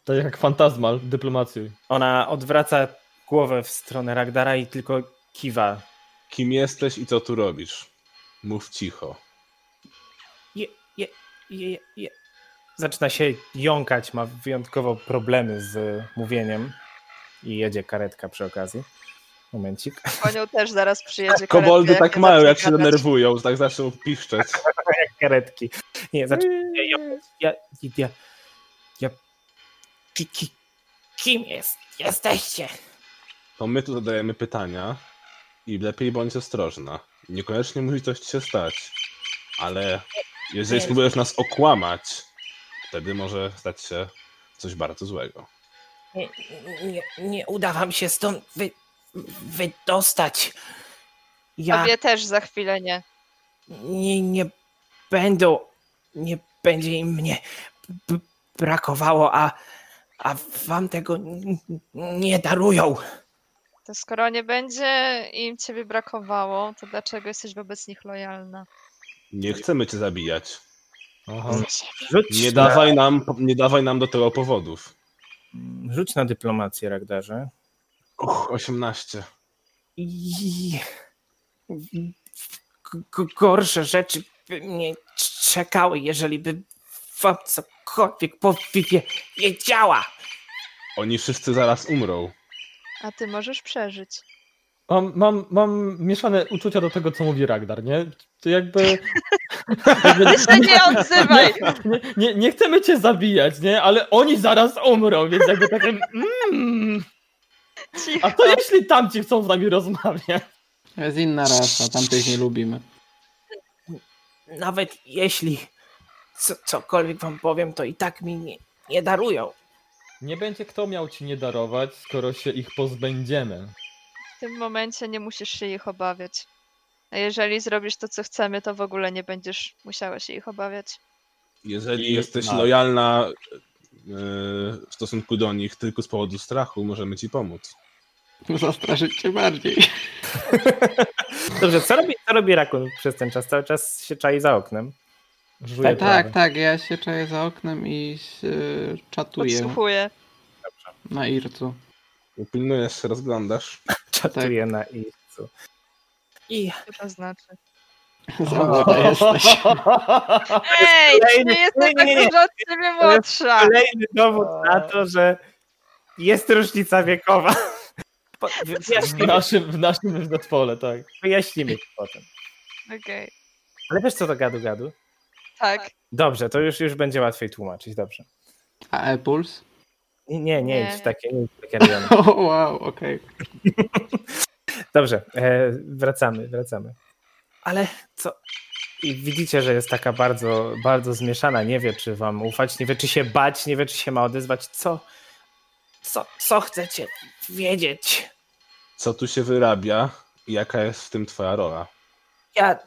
G: To jak fantazmal, dyplomacji.
B: Ona odwraca głowę w stronę Ragdara i tylko kiwa.
D: Kim jesteś i co tu robisz? Mów cicho.
B: Je, je, je, je. Zaczyna się jąkać, ma wyjątkowo problemy z mówieniem i jedzie karetka przy okazji. Momencik.
E: Po nią też zaraz przyjedzie.
D: Koboldy
E: karetka,
D: tak
E: nie
D: mają,
E: zacznie
D: jak się
E: gadać.
D: denerwują, że tak zaczną piszczeć.
B: Karetki. Nie, zaczyna się jąkać. Ja, ja, ja, ki, ki, kim jest, jesteście?
D: To my tu zadajemy pytania i lepiej bądź ostrożna. Niekoniecznie musi coś ci się stać, ale jeżeli
B: Nie.
D: spróbujesz nas okłamać, wtedy może stać się coś bardzo złego.
B: Nie, nie, nie uda wam się stąd wy, wydostać. Ja...
E: Tobie też za chwilę nie.
B: nie, nie będą, nie będzie im mnie b- brakowało, a, a wam tego n- n- nie darują.
E: To skoro nie będzie im ciebie brakowało, to dlaczego jesteś wobec nich lojalna?
D: Nie chcemy cię zabijać.
G: Aha.
D: Nie dawaj nam, nie dawaj nam do tego powodów.
B: Rzuć na dyplomację, Ragdarze.
D: Uch, 18.
B: I... g- g- Gorsze rzeczy by mnie czekały, jeżeli by wam cokolwiek powie- wiedziała.
D: Oni wszyscy zaraz umrą.
E: A ty możesz przeżyć.
G: Mam, mam, mam mieszane uczucia do tego, co mówi Ragnar, nie? To jakby... jakby
E: Ty się nie odzywaj!
G: nie, nie, nie chcemy cię zabijać, nie? Ale oni zaraz umrą, więc jakby takie... Mm, a
E: Cicho.
G: to jeśli tamci chcą z nami rozmawiać?
F: To jest inna rasa, tamtych nie lubimy.
B: nawet jeśli co, cokolwiek wam powiem, to i tak mi nie, nie darują.
G: Nie będzie kto miał ci nie darować, skoro się ich pozbędziemy.
E: W tym momencie nie musisz się ich obawiać. A jeżeli zrobisz to, co chcemy, to w ogóle nie będziesz musiała się ich obawiać.
D: Jeżeli
G: I-
D: jesteś
G: tak.
D: lojalna yy, w stosunku do nich tylko z powodu strachu, możemy ci pomóc.
F: Zastraszyć cię bardziej.
B: Dobrze, co robi, co robi Rakun przez ten czas? Cały czas się czai za oknem.
G: Żuję
F: tak,
G: trawę.
F: tak, ja się czaję za oknem i się czatuję.
E: Podsłuchuję.
F: na ircu.
D: Upilnujesz się, rozglądasz.
B: Czatuję na ircu. I
E: Co to znaczy?
F: Zawoda jesteś.
E: Ej,
B: kolejny-
E: nie
B: nie,
E: jestem
B: nie,
E: tak
B: nie.
E: dużo od ciebie młodsza.
B: kolejny dowód na to, że jest różnica wiekowa. Po-
A: W
B: Wyjaśnimy,
A: naszym, w naszym zespole, tak.
B: wyjaśnimy to potem.
E: Okej,
B: Ale wiesz co to gadu gadu?
E: tak.
B: Dobrze, to już, już będzie łatwiej tłumaczyć, dobrze.
F: A e-puls?
B: Nie, nie, nie
E: Nie.
B: idź w takie, nie idź w takie rejony.
F: O, wow, okej.
B: Dobrze, e, wracamy, wracamy. Ale co? I widzicie, że jest taka bardzo, bardzo zmieszana. Nie wie, czy wam ufać, nie wie, czy się bać, nie wie, czy się ma odezwać. Co? Co, co chcecie wiedzieć?
D: Co tu się wyrabia i jaka jest w tym twoja rola?
B: Ja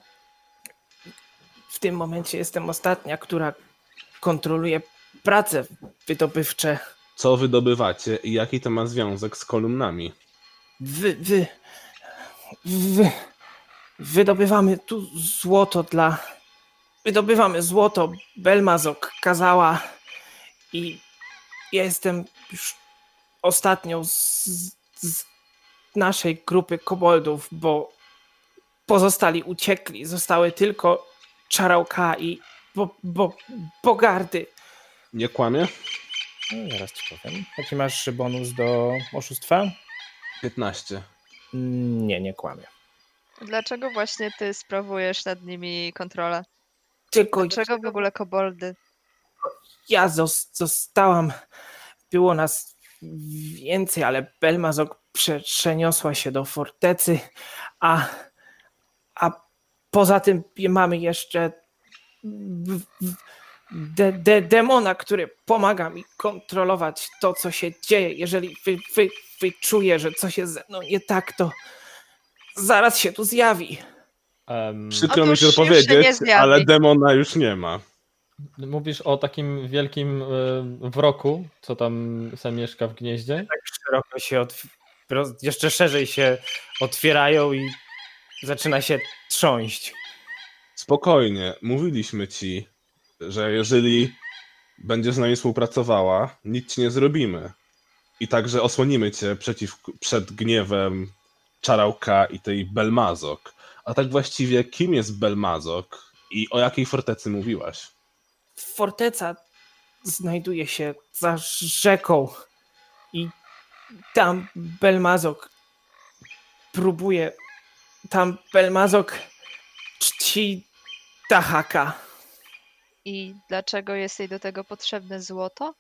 B: w tym momencie jestem ostatnia, która kontroluje prace wydobywcze.
D: Co wydobywacie i jaki to ma związek z kolumnami?
B: Wy, wy, wy, wydobywamy tu złoto dla. Wydobywamy złoto. Belmazok kazała. I ja jestem już ostatnią z, z naszej grupy koboldów, bo pozostali uciekli. Zostały tylko czarałka i bo, bo, bogardy.
D: Nie kłamie?
B: No, zaraz ci powiem. Jaki masz bonus do oszustwa?
D: 15.
B: Nie, nie kłamie.
E: Dlaczego właśnie ty sprawujesz nad nimi kontrolę?
B: Tylko
E: Dlaczego w ogóle koboldy?
B: ja zos- zostałam. Było nas więcej, ale Belmazok przeniosła się do fortecy, a, a poza tym mamy jeszcze w- w- de, de, demona, który pomaga mi kontrolować to, co się dzieje. Jeżeli wy, wy, wyczuję, że coś jest ze mną nie tak, to zaraz się tu zjawi.
A: Em,
D: Przykro mi
E: Otóż
D: się
E: już się
D: powiedzieć,
E: nie zjawi.
D: ale demona już nie ma.
A: mówisz o takim wielkim y, wroku, co tam sam mieszka w gnieździe.
B: tak szeroko się, otw- roz- jeszcze szerzej się otwierają i zaczyna się trząść.
D: Spokojnie, mówiliśmy ci, że jeżeli będziesz z nami współpracowała, nic ci nie zrobimy. I także osłonimy cię przeciw, przed gniewem Czarałka i tej Belmazok. A tak właściwie, kim jest Belmazok i o jakiej fortecy mówiłaś?
B: Forteca znajduje się za rzeką i tam Belmazok próbuje, tam Belmazok czci Tahaka.
E: I dlaczego jest jej do tego potrzebne złoto?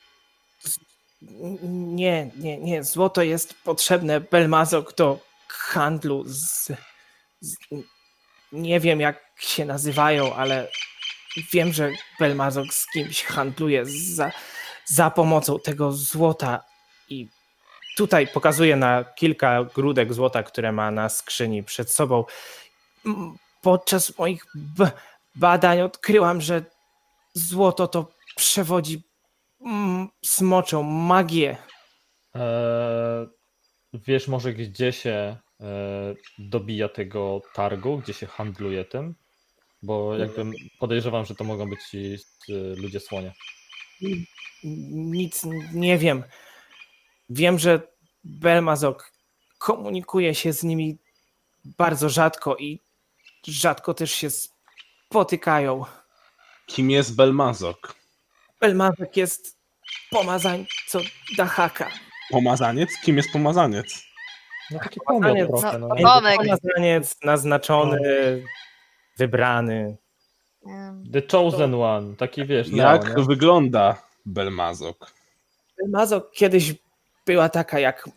B: N- Nie, nie, nie. Złoto jest potrzebne Belmazok do handlu z, z. Nie wiem, jak się nazywają, ale wiem, że Belmazok z kimś handluje za, za pomocą tego złota. I tutaj pokazuje na kilka grudek złota, które ma na skrzyni przed sobą. M- Podczas moich b- badań odkryłam, że złoto to przewodzi mm, smoczą magię.
A: E, wiesz może gdzie się e, dobija tego targu, gdzie się handluje tym? Bo jakbym podejrzewam, że to mogą być ci y, ludzie słonia.
B: Nic nie wiem. Wiem, że Belmazok komunikuje się z nimi bardzo rzadko i rzadko też się spotykają.
D: Kim jest Belmazok?
B: Belmazok jest pomazańcą Dahaka.
D: Pomazaniec? Kim jest pomazaniec?
A: No taki
B: pomysł
A: pomiot
B: trochę,
A: trochę.
E: no.
A: No.
E: no. Tomek.
B: Pomazaniec naznaczony, wybrany.
E: Em,
A: The Chosen One, taki wiesz,
D: Jak
A: Neo, nie?
D: wygląda Belmazok?
B: Belmazok kiedyś była taka jak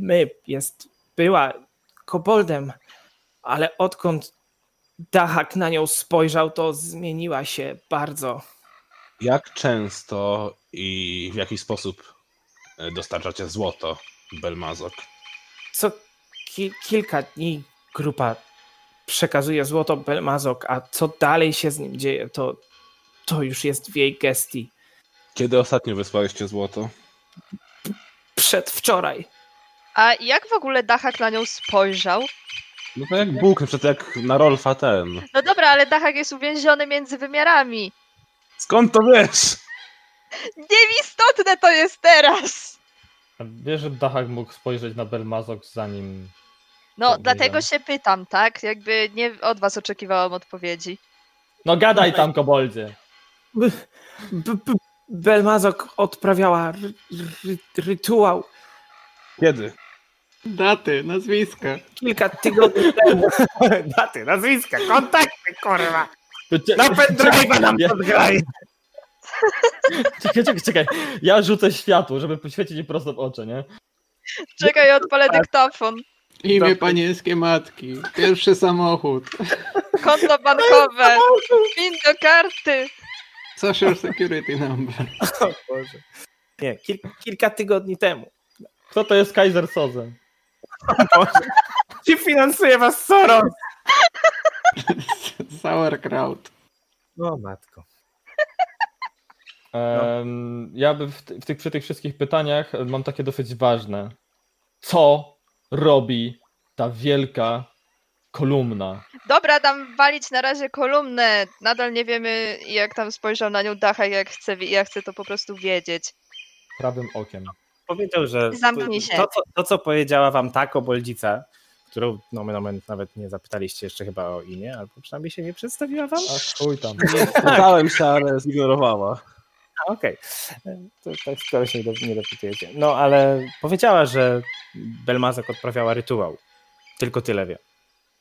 B: my, jest, była koboldem, ale odkąd Dachak na nią spojrzał, to zmieniła się bardzo.
D: Jak często i w jaki sposób e, dostarczacie złoto Belmazok?
B: Co ki- kilka dni grupa przekazuje złoto Belmazok, a co dalej się z nim dzieje, to, to już jest w jej gestii.
D: Kiedy ostatnio wysłaliście złoto?
B: Przedwczoraj.
E: A jak w ogóle Dachak na nią spojrzał?
D: No to jak Bóg, na przykład jak na Rolfa ten.
E: No dobra, ale Dachak jest uwięziony między wymiarami.
D: Skąd to wiesz?
E: Nieistotne to jest teraz!
A: A Wiesz, że Dachak mógł spojrzeć na Belmazok zanim...
E: No,
A: Dobrze,
E: dlatego
A: Jan.
E: się pytam, tak? Jakby nie od was oczekiwałam odpowiedzi.
A: No gadaj tam, koboldzie!
B: B- b- Belmazok odprawiała ry- ry- rytuał
D: Kiedy?
F: Daty, nazwiska.
B: kilka tygodni temu. Daty, nazwiska, kontakty, kurwa.
A: To cie-
B: Na pendrive'a nam
A: Ja-
B: podgraj.
A: Czekaj, czekaj, czekaj. Ja rzucę światło, żeby poświecić mi prosto w oczy, nie?
E: Czekaj, odpalę dyktafon.
F: Imię
B: Daty.
F: panieńskie matki. Pierwszy samochód.
E: Konto bankowe. Pin do karty.
F: Social security number.
B: O Boże. Nie, kil, kilka tygodni temu.
A: Kto to jest Kaiser Soze?
B: Czy finansuje was Soros?
F: Sauerkraut.
B: O matko.
A: Em, Ja bym w, ty- w tych, przy tych wszystkich pytaniach e, mam takie dosyć ważne. Co robi ta wielka kolumna?
E: Dobra, dam walić na razie kolumnę. Nadal nie wiemy, jak tam spojrzał na nią Dachak, jak chce, wi- ja chcę to po prostu wiedzieć.
A: Prawym okiem.
B: Powiedział, że
E: Zamknij się.
B: To, co, to, co powiedziała wam ta koboldzica, którą no, nomen omen nawet nie zapytaliście jeszcze chyba o imię, albo przynajmniej się nie przedstawiła wam.
A: A Tak, chuj tam.
D: Pytałem się, ale zignorowała.
B: A, Okej, to tak skoro się nie do- nie dopytujecie. No ale powiedziała, że Belmazek odprawiała rytuał. Tylko tyle wie.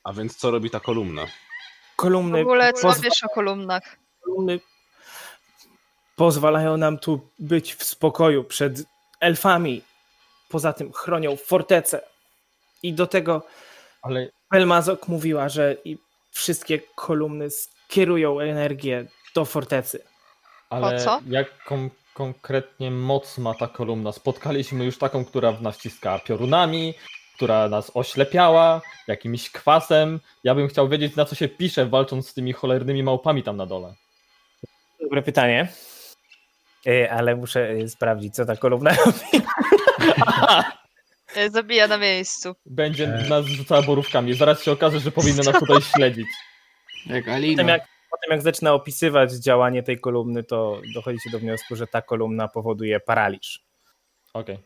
D: A więc co robi ta kolumna?
E: W
B: Kolumny,
E: ogóle co
B: poz-
E: wiesz o kolumnach?
B: kolumny pozwalają nam tu być w spokoju przed elfami. Poza tym chronią fortece. I do tego
A: Ale
B: Belmazok mówiła, że i wszystkie kolumny skierują energię do fortecy.
A: Ale
E: Po co?
A: jaką konkretnie moc ma ta kolumna? Spotkaliśmy już taką, która w nas ciskała piorunami, która nas oślepiała jakimś kwasem. Ja bym chciał wiedzieć, na co się pisze, walcząc z tymi cholernymi małpami tam na dole.
B: Dobre pytanie. E, Ale muszę e, sprawdzić, co ta kolumna
E: E, Zabija na miejscu.
A: Będzie nas rzucała borówkami. Zaraz się okaże, że powinno nas tutaj śledzić.
F: Jak
B: Potem
F: Alina.
B: jak, potem jak zaczyna opisywać działanie tej kolumny, to dochodzicie do wniosku, że ta kolumna powoduje paraliż.
A: Okej.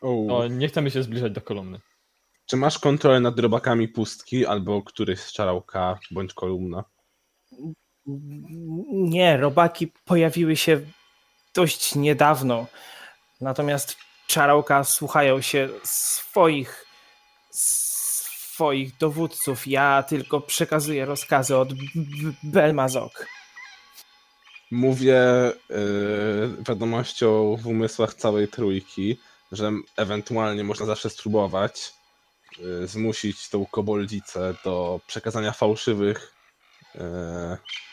D: O,
A: No, nie chcemy się zbliżać do kolumny.
D: Czy masz kontrolę nad robakami pustki albo któryś z czarałka bądź kolumna?
B: Nie, robaki pojawiły się dość niedawno. Natomiast czarałka słuchają się swoich swoich dowódców. Ja tylko przekazuję rozkazy od B- B- Belmazok.
D: Mówię yy, wiadomością w umysłach całej trójki, że ewentualnie można zawsze spróbować yy, zmusić tą koboldzicę do przekazania fałszywych yy,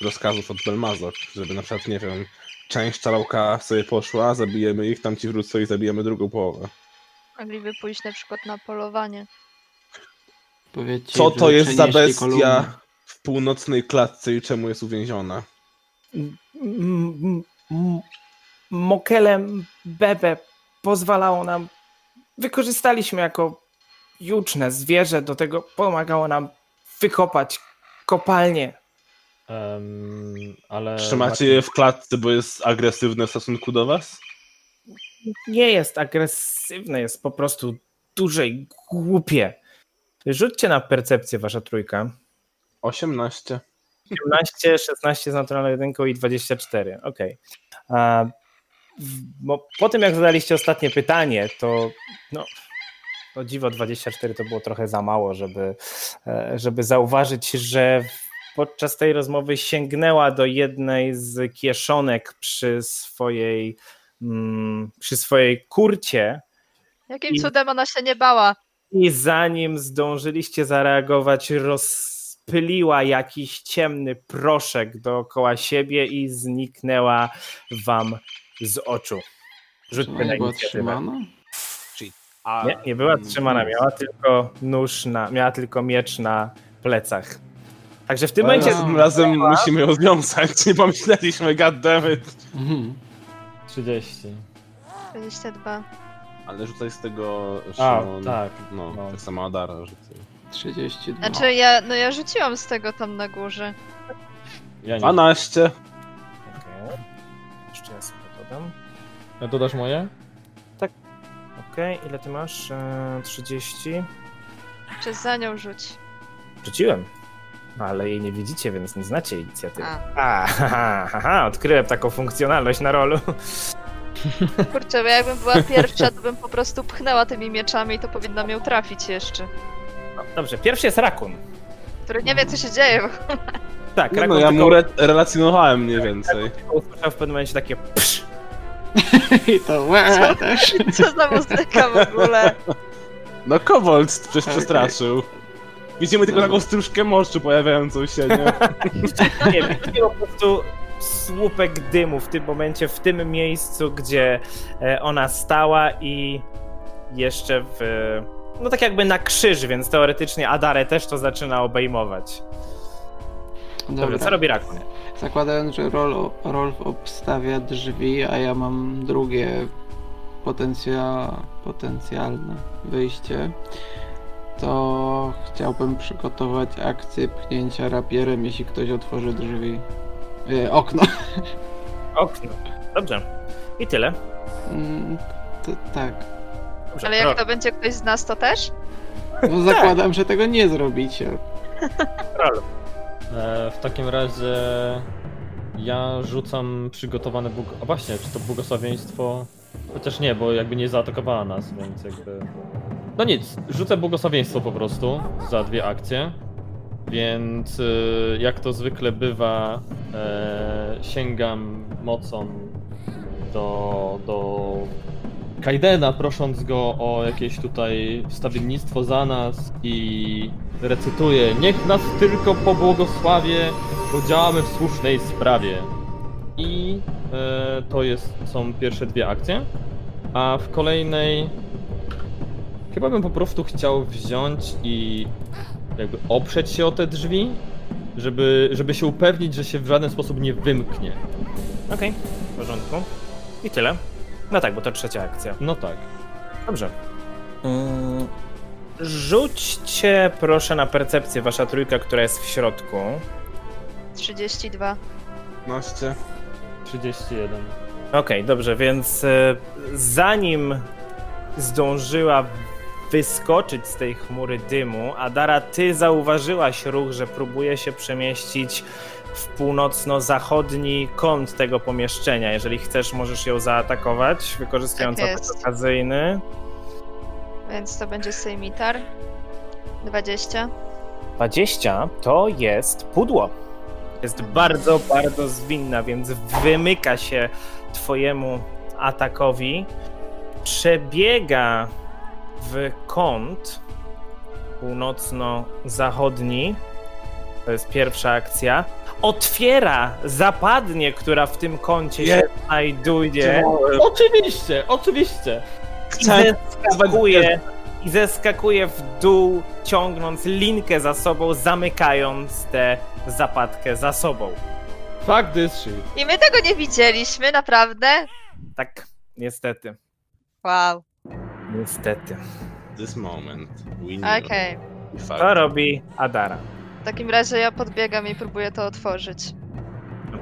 D: rozkazów od Belmazok, żeby na przykład, nie wiem, część czarałka sobie poszła, zabijemy ich, tamci wrócą i zabijemy drugą połowę.
E: Mogliby pójść na przykład na polowanie.
F: Powiedzcie,
D: Co
F: że
D: to jest za
F: przenieśli
D: bestia
F: kolumnę.
D: w północnej klatce i czemu jest uwięziona?
B: M- m- m- Mokelem Bebe pozwalało nam, wykorzystaliśmy jako juczne zwierzę, do tego pomagało nam wykopać kopalnie.
A: Em,
F: E,
A: ale.
D: Trzymacie je w klatce, bo jest agresywne w stosunku do was?
B: Nie jest agresywne, jest po prostu duże i głupie. Rzućcie na percepcję wasza trójka.
D: 18.
B: 17, 16 z naturalną jedynką i 24. Okej. A w- bo Po tym, jak zadaliście ostatnie pytanie, to no, o dziwo 24 to było trochę za mało, żeby, e, żeby zauważyć, że w- podczas tej rozmowy sięgnęła do jednej z kieszonek przy swojej, mm, przy swojej kurcie,
E: Jakim
B: I-
E: cudem ona się nie bała?
B: i zanim zdążyliście zareagować, rozpyliła jakiś ciemny proszek dookoła siebie i zniknęła wam z oczu.
F: Czy
B: Rzućmy
F: ona
B: na
F: była
B: inicjatywę.
F: trzymana? Mm,
D: A
B: Nie, nie była trzymana, miała tylko nóż na, miała tylko miecz na plecach. Także w tym
F: No.
D: Ale
B: momencie
D: Tym razem musimy ją związać, nie pomyśleliśmy, goddammit.
F: Mhm.
A: 30.
E: 22.
D: Ale rzucaj z tego,
A: A,
D: Szymon.
A: tak.
D: No,
A: no.
D: tak samo Adara rzucaj.
F: 32.
E: Znaczy ja, no ja rzuciłam z tego tam na górze.
A: Ja nie.
D: 12.
B: Okej. Jeszcze ja sobie dodam.
A: No, Dodasz moje?
B: Tak.
A: Okej.
B: Okej, ile ty masz? E, 30.
E: Czy za nią rzuć?
B: Rzuciłem. No, ale jej nie widzicie, więc nie znacie inicjatywy.
E: A.
B: A, haha, haha, odkryłem taką funkcjonalność na rolu.
E: Kurczę, bo jakbym była pierwsza, to bym po prostu pchnęła tymi mieczami i to powinna ją trafić jeszcze.
B: No, dobrze, pierwszy jest Rakun.
E: Który nie wie, co się dzieje.
B: Tak,
D: Nie
B: Rakun
D: no, ja
B: tylko
D: mu re- relacjonowałem mniej więcej.
B: usłyszał w pewnym momencie takie psz.
F: I to łe, też.
E: Bo co za muzyka w ogóle?
D: No kobold przecież
F: Okej.
D: przestraszył. Widzimy tylko taką stróżkę moszczu pojawiającą się, nie?
B: Nie wiem, widzicie po prostu słupek dymu w tym momencie, w tym miejscu, gdzie e, ona stała i jeszcze w... No tak jakby na krzyż, więc teoretycznie Adare też to zaczyna obejmować. Dobrze, co robi Rakun?
F: Zakładając, że Rol- Rolf obstawia drzwi, a ja mam drugie potencja, potencjalne wyjście, to chciałbym przygotować akcję pchnięcia rapierem, jeśli ktoś otworzy drzwi. E, okno.
B: Okno. no, Dobrze. I tyle.
F: Mm, to, tak.
B: Dobrze,
E: Ale jak
B: Rolf,
E: to będzie ktoś z nas, to też?
F: No zakładam, że tego nie zrobicie.
B: Rolf.
A: E, w takim razie ja rzucam przygotowane bóg. A właśnie, czy to błogosławieństwo? Chociaż nie, bo jakby nie zaatakowała nas, więc jakby. No nic, rzucę błogosławieństwo po prostu za dwie akcje. Więc y, jak to zwykle bywa, e, sięgam mocą do, do Kaidena, prosząc go o jakieś tutaj wstawiennictwo za nas i recytuję Niech nas tylko pobłogosławie, bo działamy w słusznej sprawie. I e, to jest, są pierwsze dwie akcje. A w kolejnej chyba bym po prostu chciał wziąć i jakby oprzeć się o te drzwi, żeby, żeby się upewnić, że się w żaden sposób nie wymknie.
B: Okej, w porządku. I tyle. No tak, bo to trzecia akcja.
A: No tak.
B: Dobrze. Yy, Rzućcie proszę na percepcję wasza trójka, która jest w środku.
E: 32.
D: 15.
A: 31.
B: Okej, dobrze, więc e, zanim zdążyła wyskoczyć z tej chmury dymu, Adara, ty zauważyłaś ruch, że próbuje się przemieścić w północno-zachodni kąt tego pomieszczenia. Jeżeli chcesz, możesz ją zaatakować, wykorzystując
E: Tak
B: atak
E: jest.
B: okazyjny.
E: Więc to będzie Sejmitar. 20.
B: 20 to jest pudło. Jest bardzo, bardzo zwinna, więc wymyka się twojemu atakowi. Przebiega w kąt północno-zachodni. To jest pierwsza akcja. Otwiera zapadnię, która w tym kącie się znajduje.
A: Oczywiście, oczywiście.
B: I
D: Chciałem
B: zeskakuje, I zeskakuje w dół, ciągnąc linkę za sobą, zamykając tę zapadkę za sobą.
A: Fuck this shit.
E: I my tego nie widzieliśmy, naprawdę?
B: Tak, niestety.
E: Wow.
B: Niestety.
D: this moment. We knew.
E: Okej.
D: We
B: To
D: fucked.
B: robi Adara.
E: W takim razie ja podbiegam i próbuję to otworzyć.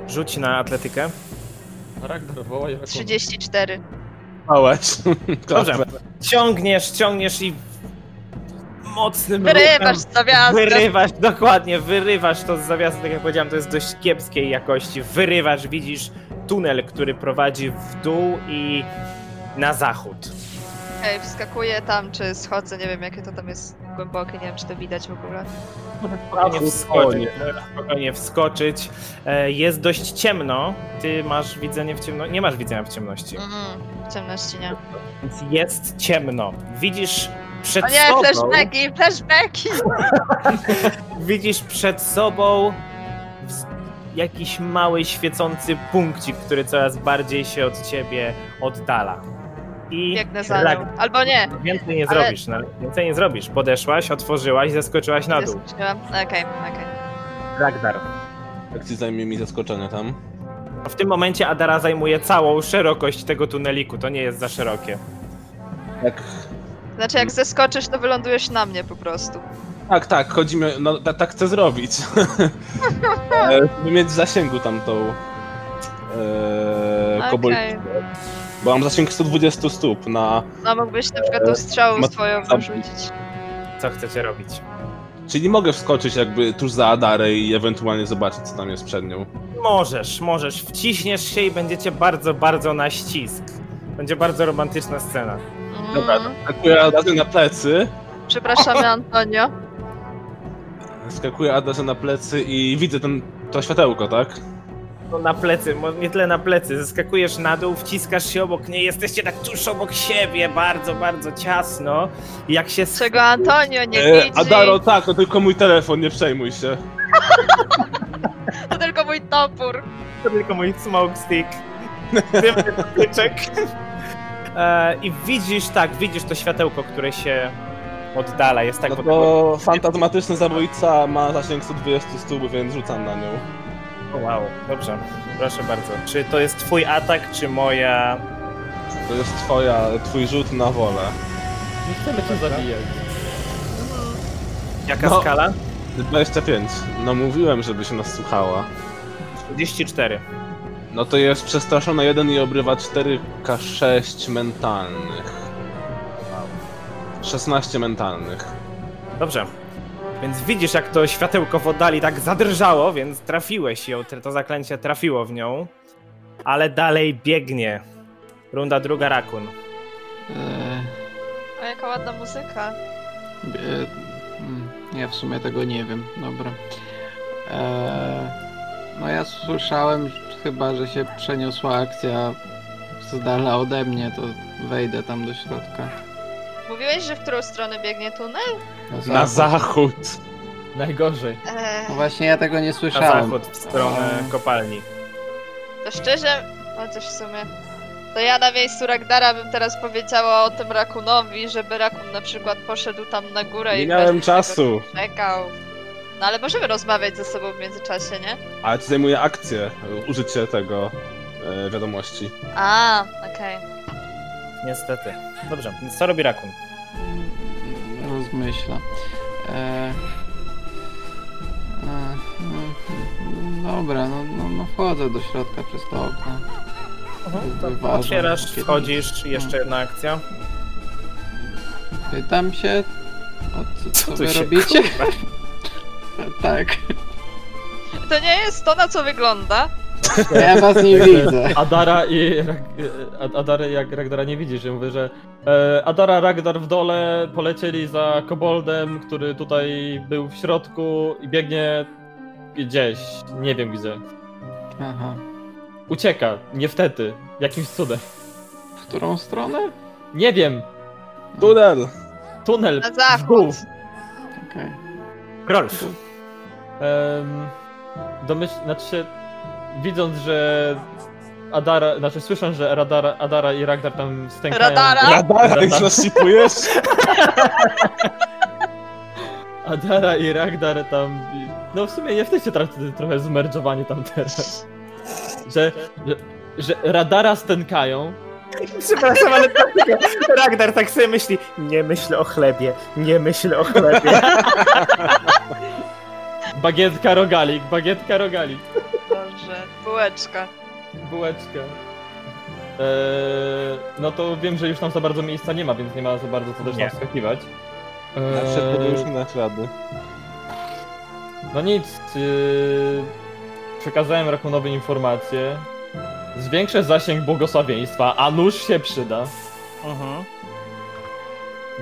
B: Rzuć na atletykę.
A: Ragnar woła Jakub.
E: 34.
D: Małeś.
B: Dobrze. Ciągniesz, ciągniesz i mocnym
E: Wyrywasz
B: ruchem
E: zawiaskę.
B: Wyrywasz, dokładnie, wyrywasz to z zawiasu, tak jak powiedziałem, to jest dość kiepskiej jakości. Wyrywasz, widzisz tunel, który prowadzi w dół i na zachód.
E: Okej, wskakuję tam, czy schodzę, nie wiem jakie to tam jest głębokie, nie wiem czy to widać w ogóle.
B: spokojnie wskoczyć. Spokojnie wskoczyć. E, Jest dość ciemno. Ty masz widzenie w ciemności. Nie masz widzenia w ciemności.
E: Mhm, w ciemności nie.
B: Więc jest ciemno. Widzisz przed
E: O nie, tak.
B: sobą.
E: flashbacki, flashbacki!
B: Widzisz przed sobą wz- jakiś mały świecący punkcik, który coraz bardziej się od ciebie oddala. I
E: Biegnę za
B: Tak.
E: nią. Albo nie.
B: więcej nie
E: ale-
B: zrobisz. No, więcej nie zrobisz. Podeszłaś, otworzyłaś, zeskoczyłaś na
E: Nie
B: dół.
E: skoczyłam. Okej, okej.
B: Ragnar.
D: Jak ci zajmie mi zaskoczenie tam?
B: W tym momencie Adara zajmuje całą szerokość tego tuneliku. To nie jest za szerokie.
D: Jak...
E: Znaczy jak zeskoczysz, to wylądujesz na mnie po prostu.
D: Tak, tak, chodzimy, no ta, tak chcę zrobić. E, Żeby mieć w zasięgu tamtą e, koboldę.
E: Okej.
D: Bo mam zasięg 120 stóp na...
E: No mógłbyś na przykład tą strzałą
D: mat-
E: swoją
D: tam-
E: wyrzucić.
B: Co chcecie robić?
D: Czyli mogę wskoczyć jakby tuż za Adarę i ewentualnie zobaczyć, co tam jest przed nią.
B: Możesz, możesz. Wciśniesz się i będziecie bardzo, bardzo na ścisk. Będzie bardzo romantyczna scena.
E: Mm,
D: Dobra, no. Skakuję Adarze na plecy,
E: Przepraszamy Antonio.
D: skakuję Adarze na plecy i widzę ten, to światełko, tak?
B: No na plecy, mo- nie tyle na plecy. Zeskakujesz na dół, wciskasz się obok niej, jesteście tak tuż obok siebie, bardzo, bardzo ciasno. I Jak się sch-
E: Czego Antonio nie
D: E,
E: widzi?
D: Adaro, tak, to tylko mój telefon, nie przejmuj się.
E: To tylko mój topór.
B: to tylko mój smoke stick. Tym tyczek. E, I widzisz, tak, widzisz to światełko, które się oddala, jest tak
D: No
B: od-
D: to fantazmatyczny zabójca ma zasięg 120 stóp, więc rzucam na nią.
B: O, Wow, dobrze. Proszę bardzo. Czy to jest twój atak, czy moja...
D: To jest twoja, twój rzut na wolę.
A: Nie chcemy cię zabijać.
B: Jaka
D: No.
B: skala?
D: 25. No mówiłem, żeby się nas słuchała.
B: 34.
D: No to jest przestraszona 1 i obrywa 4k6 mentalnych. 16 mentalnych.
B: Dobrze. Więc widzisz, jak to światełko w oddali tak zadrżało, więc trafiłeś ją, to zaklęcie trafiło w nią. Ale dalej biegnie. Runda druga, Rakun.
F: E,
E: O, jaka ładna muzyka.
F: E, mm, Ja w sumie tego nie wiem, dobra. E, no ja słyszałem, że chyba że się przeniosła akcja z dala ode mnie, to wejdę tam do środka.
E: Mówiłeś, że w którą stronę biegnie tunel?
D: Na zachód!
A: Najgorzej.
E: Eee,
F: No właśnie ja tego nie
B: Na
F: słyszałem. No.
B: zachód, w stronę kopalni.
E: to szczerze, chociaż w sumie... To ja na miejscu Ragdara bym teraz powiedziała o tym Rakunowi, żeby Rakun na przykład poszedł tam na górę
D: Nie
E: i
D: miałem
E: bez tego
D: czasu!
E: czekał. No ale możemy rozmawiać ze sobą w międzyczasie, nie?
D: Ale to zajmuje akcję, użycie tego e, wiadomości.
E: A, okej.
B: Niestety. Dobrze, więc co robi Rakun?
F: Rozmyśla. E, e, mm, dobra, no, no, no wchodzę do środka przez to okno.
B: To
F: Wyważam
B: otwierasz,
F: pakiet.
B: wchodzisz, jeszcze jedna akcja.
F: Pytam się, o co, co,
B: tu
F: wy
B: się,
F: robicie? tak,
E: To nie jest to, na co wygląda.
F: ja was nie widzę.
A: Adara i Rag... Ad- Adara jak Ragdara nie widzisz, ja mówię, że e, Adara, Ragdar w dole polecieli za koboldem, który tutaj był w środku i biegnie gdzieś, nie wiem gdzie.
F: Aha.
A: Ucieka, nie wtedy, jakimś cudem.
F: W którą stronę?
A: Nie wiem,
D: Tunel!
A: tunel
E: Na
A: w dół.
E: zachód.
F: Okej.
B: Rolf.
A: Um, domyśl, znaczy się, widząc, że Adara, znaczy słyszę, że Radara, Adara i Ragdar tam stękają.
E: Radara?
D: Radar, jak
A: Radar.
D: nas shipujesz?
A: Adara i Ragdar tam. No w sumie jesteście tro- trochę zmerdżowani tam teraz. Że, że, że radara stękają.
B: Przepraszam, ale tak, Ragnar tak sobie myśli, nie myśl o chlebie, nie myśl o chlebie.
A: Bagietka rogalik, bagietka rogalik.
E: Dobrze, bułeczka.
A: Bułeczka. Eee, no to wiem, że już tam za bardzo miejsca nie ma, więc nie ma za bardzo co też
B: Nie.
A: tam wskakiwać.
D: Na
A: Eee,
D: już na ślady.
A: no nic. Yy, przekazałem Rakunowi informację. Zwiększę zasięg błogosławieństwa, a nóż się przyda.
B: Mhm.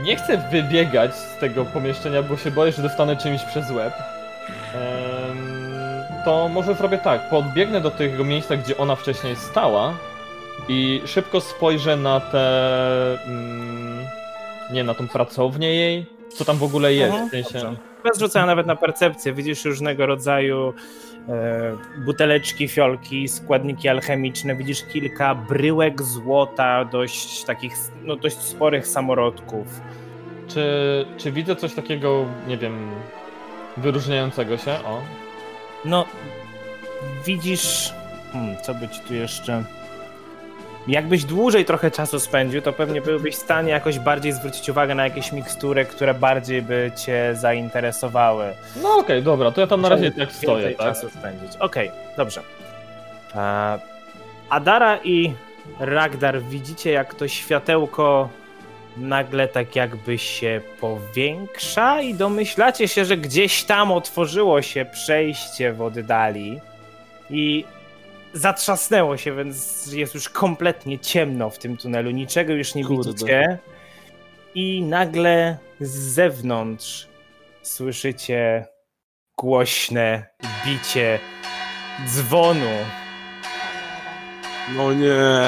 A: Nie chcę wybiegać z tego pomieszczenia, bo się boję, że dostanę czymś przez łeb. Em, to może zrobię tak. Podbiegnę do tego miejsca, gdzie ona wcześniej stała i szybko spojrzę na te. Mm, nie, na tą pracownię jej. Co tam w ogóle jest?
B: Mhm,
A: w sensie,
B: dobrze. Bez rzucenia nawet na percepcję, widzisz różnego rodzaju e, buteleczki, fiolki, składniki alchemiczne, widzisz kilka bryłek złota, dość takich, no dość sporych samorodków.
A: czy, czy widzę coś takiego, nie wiem, wyróżniającego się? O.
B: No, widzisz, hmm, co by ci tu jeszcze... Jakbyś dłużej trochę czasu spędził, to pewnie byłbyś w stanie jakoś bardziej zwrócić uwagę na jakieś mikstury, które bardziej by cię zainteresowały.
A: No okej, dobra, to ja tam na razie tak stoję,
B: Więcej
A: tak?
B: czasu spędzić. Okej, dobrze. E, Adara i Ragdar, widzicie jak to światełko nagle tak jakby się powiększa i domyślacie się, że gdzieś tam otworzyło się przejście w oddali i zatrzasnęło się, więc jest już kompletnie ciemno w tym tunelu, niczego już nie
C: Kurde.
B: widzicie i nagle z zewnątrz słyszycie głośne bicie dzwonu.
D: No nie,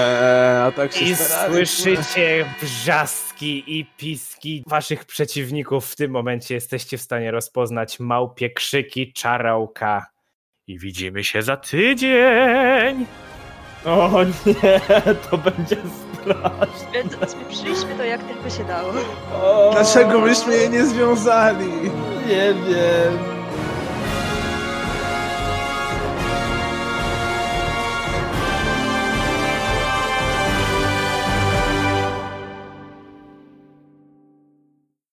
D: a tak się
B: I
D: starali,
B: słyszycie wrzaski i piski waszych przeciwników. W tym momencie jesteście w stanie rozpoznać małpie krzyki czarałka. I widzimy się za tydzień!
G: O nie, to będzie straszne.
E: Więc Przyjśmy to jak tylko się dało.
D: Dlaczego byśmy jej nie związali?
G: Nie wiem.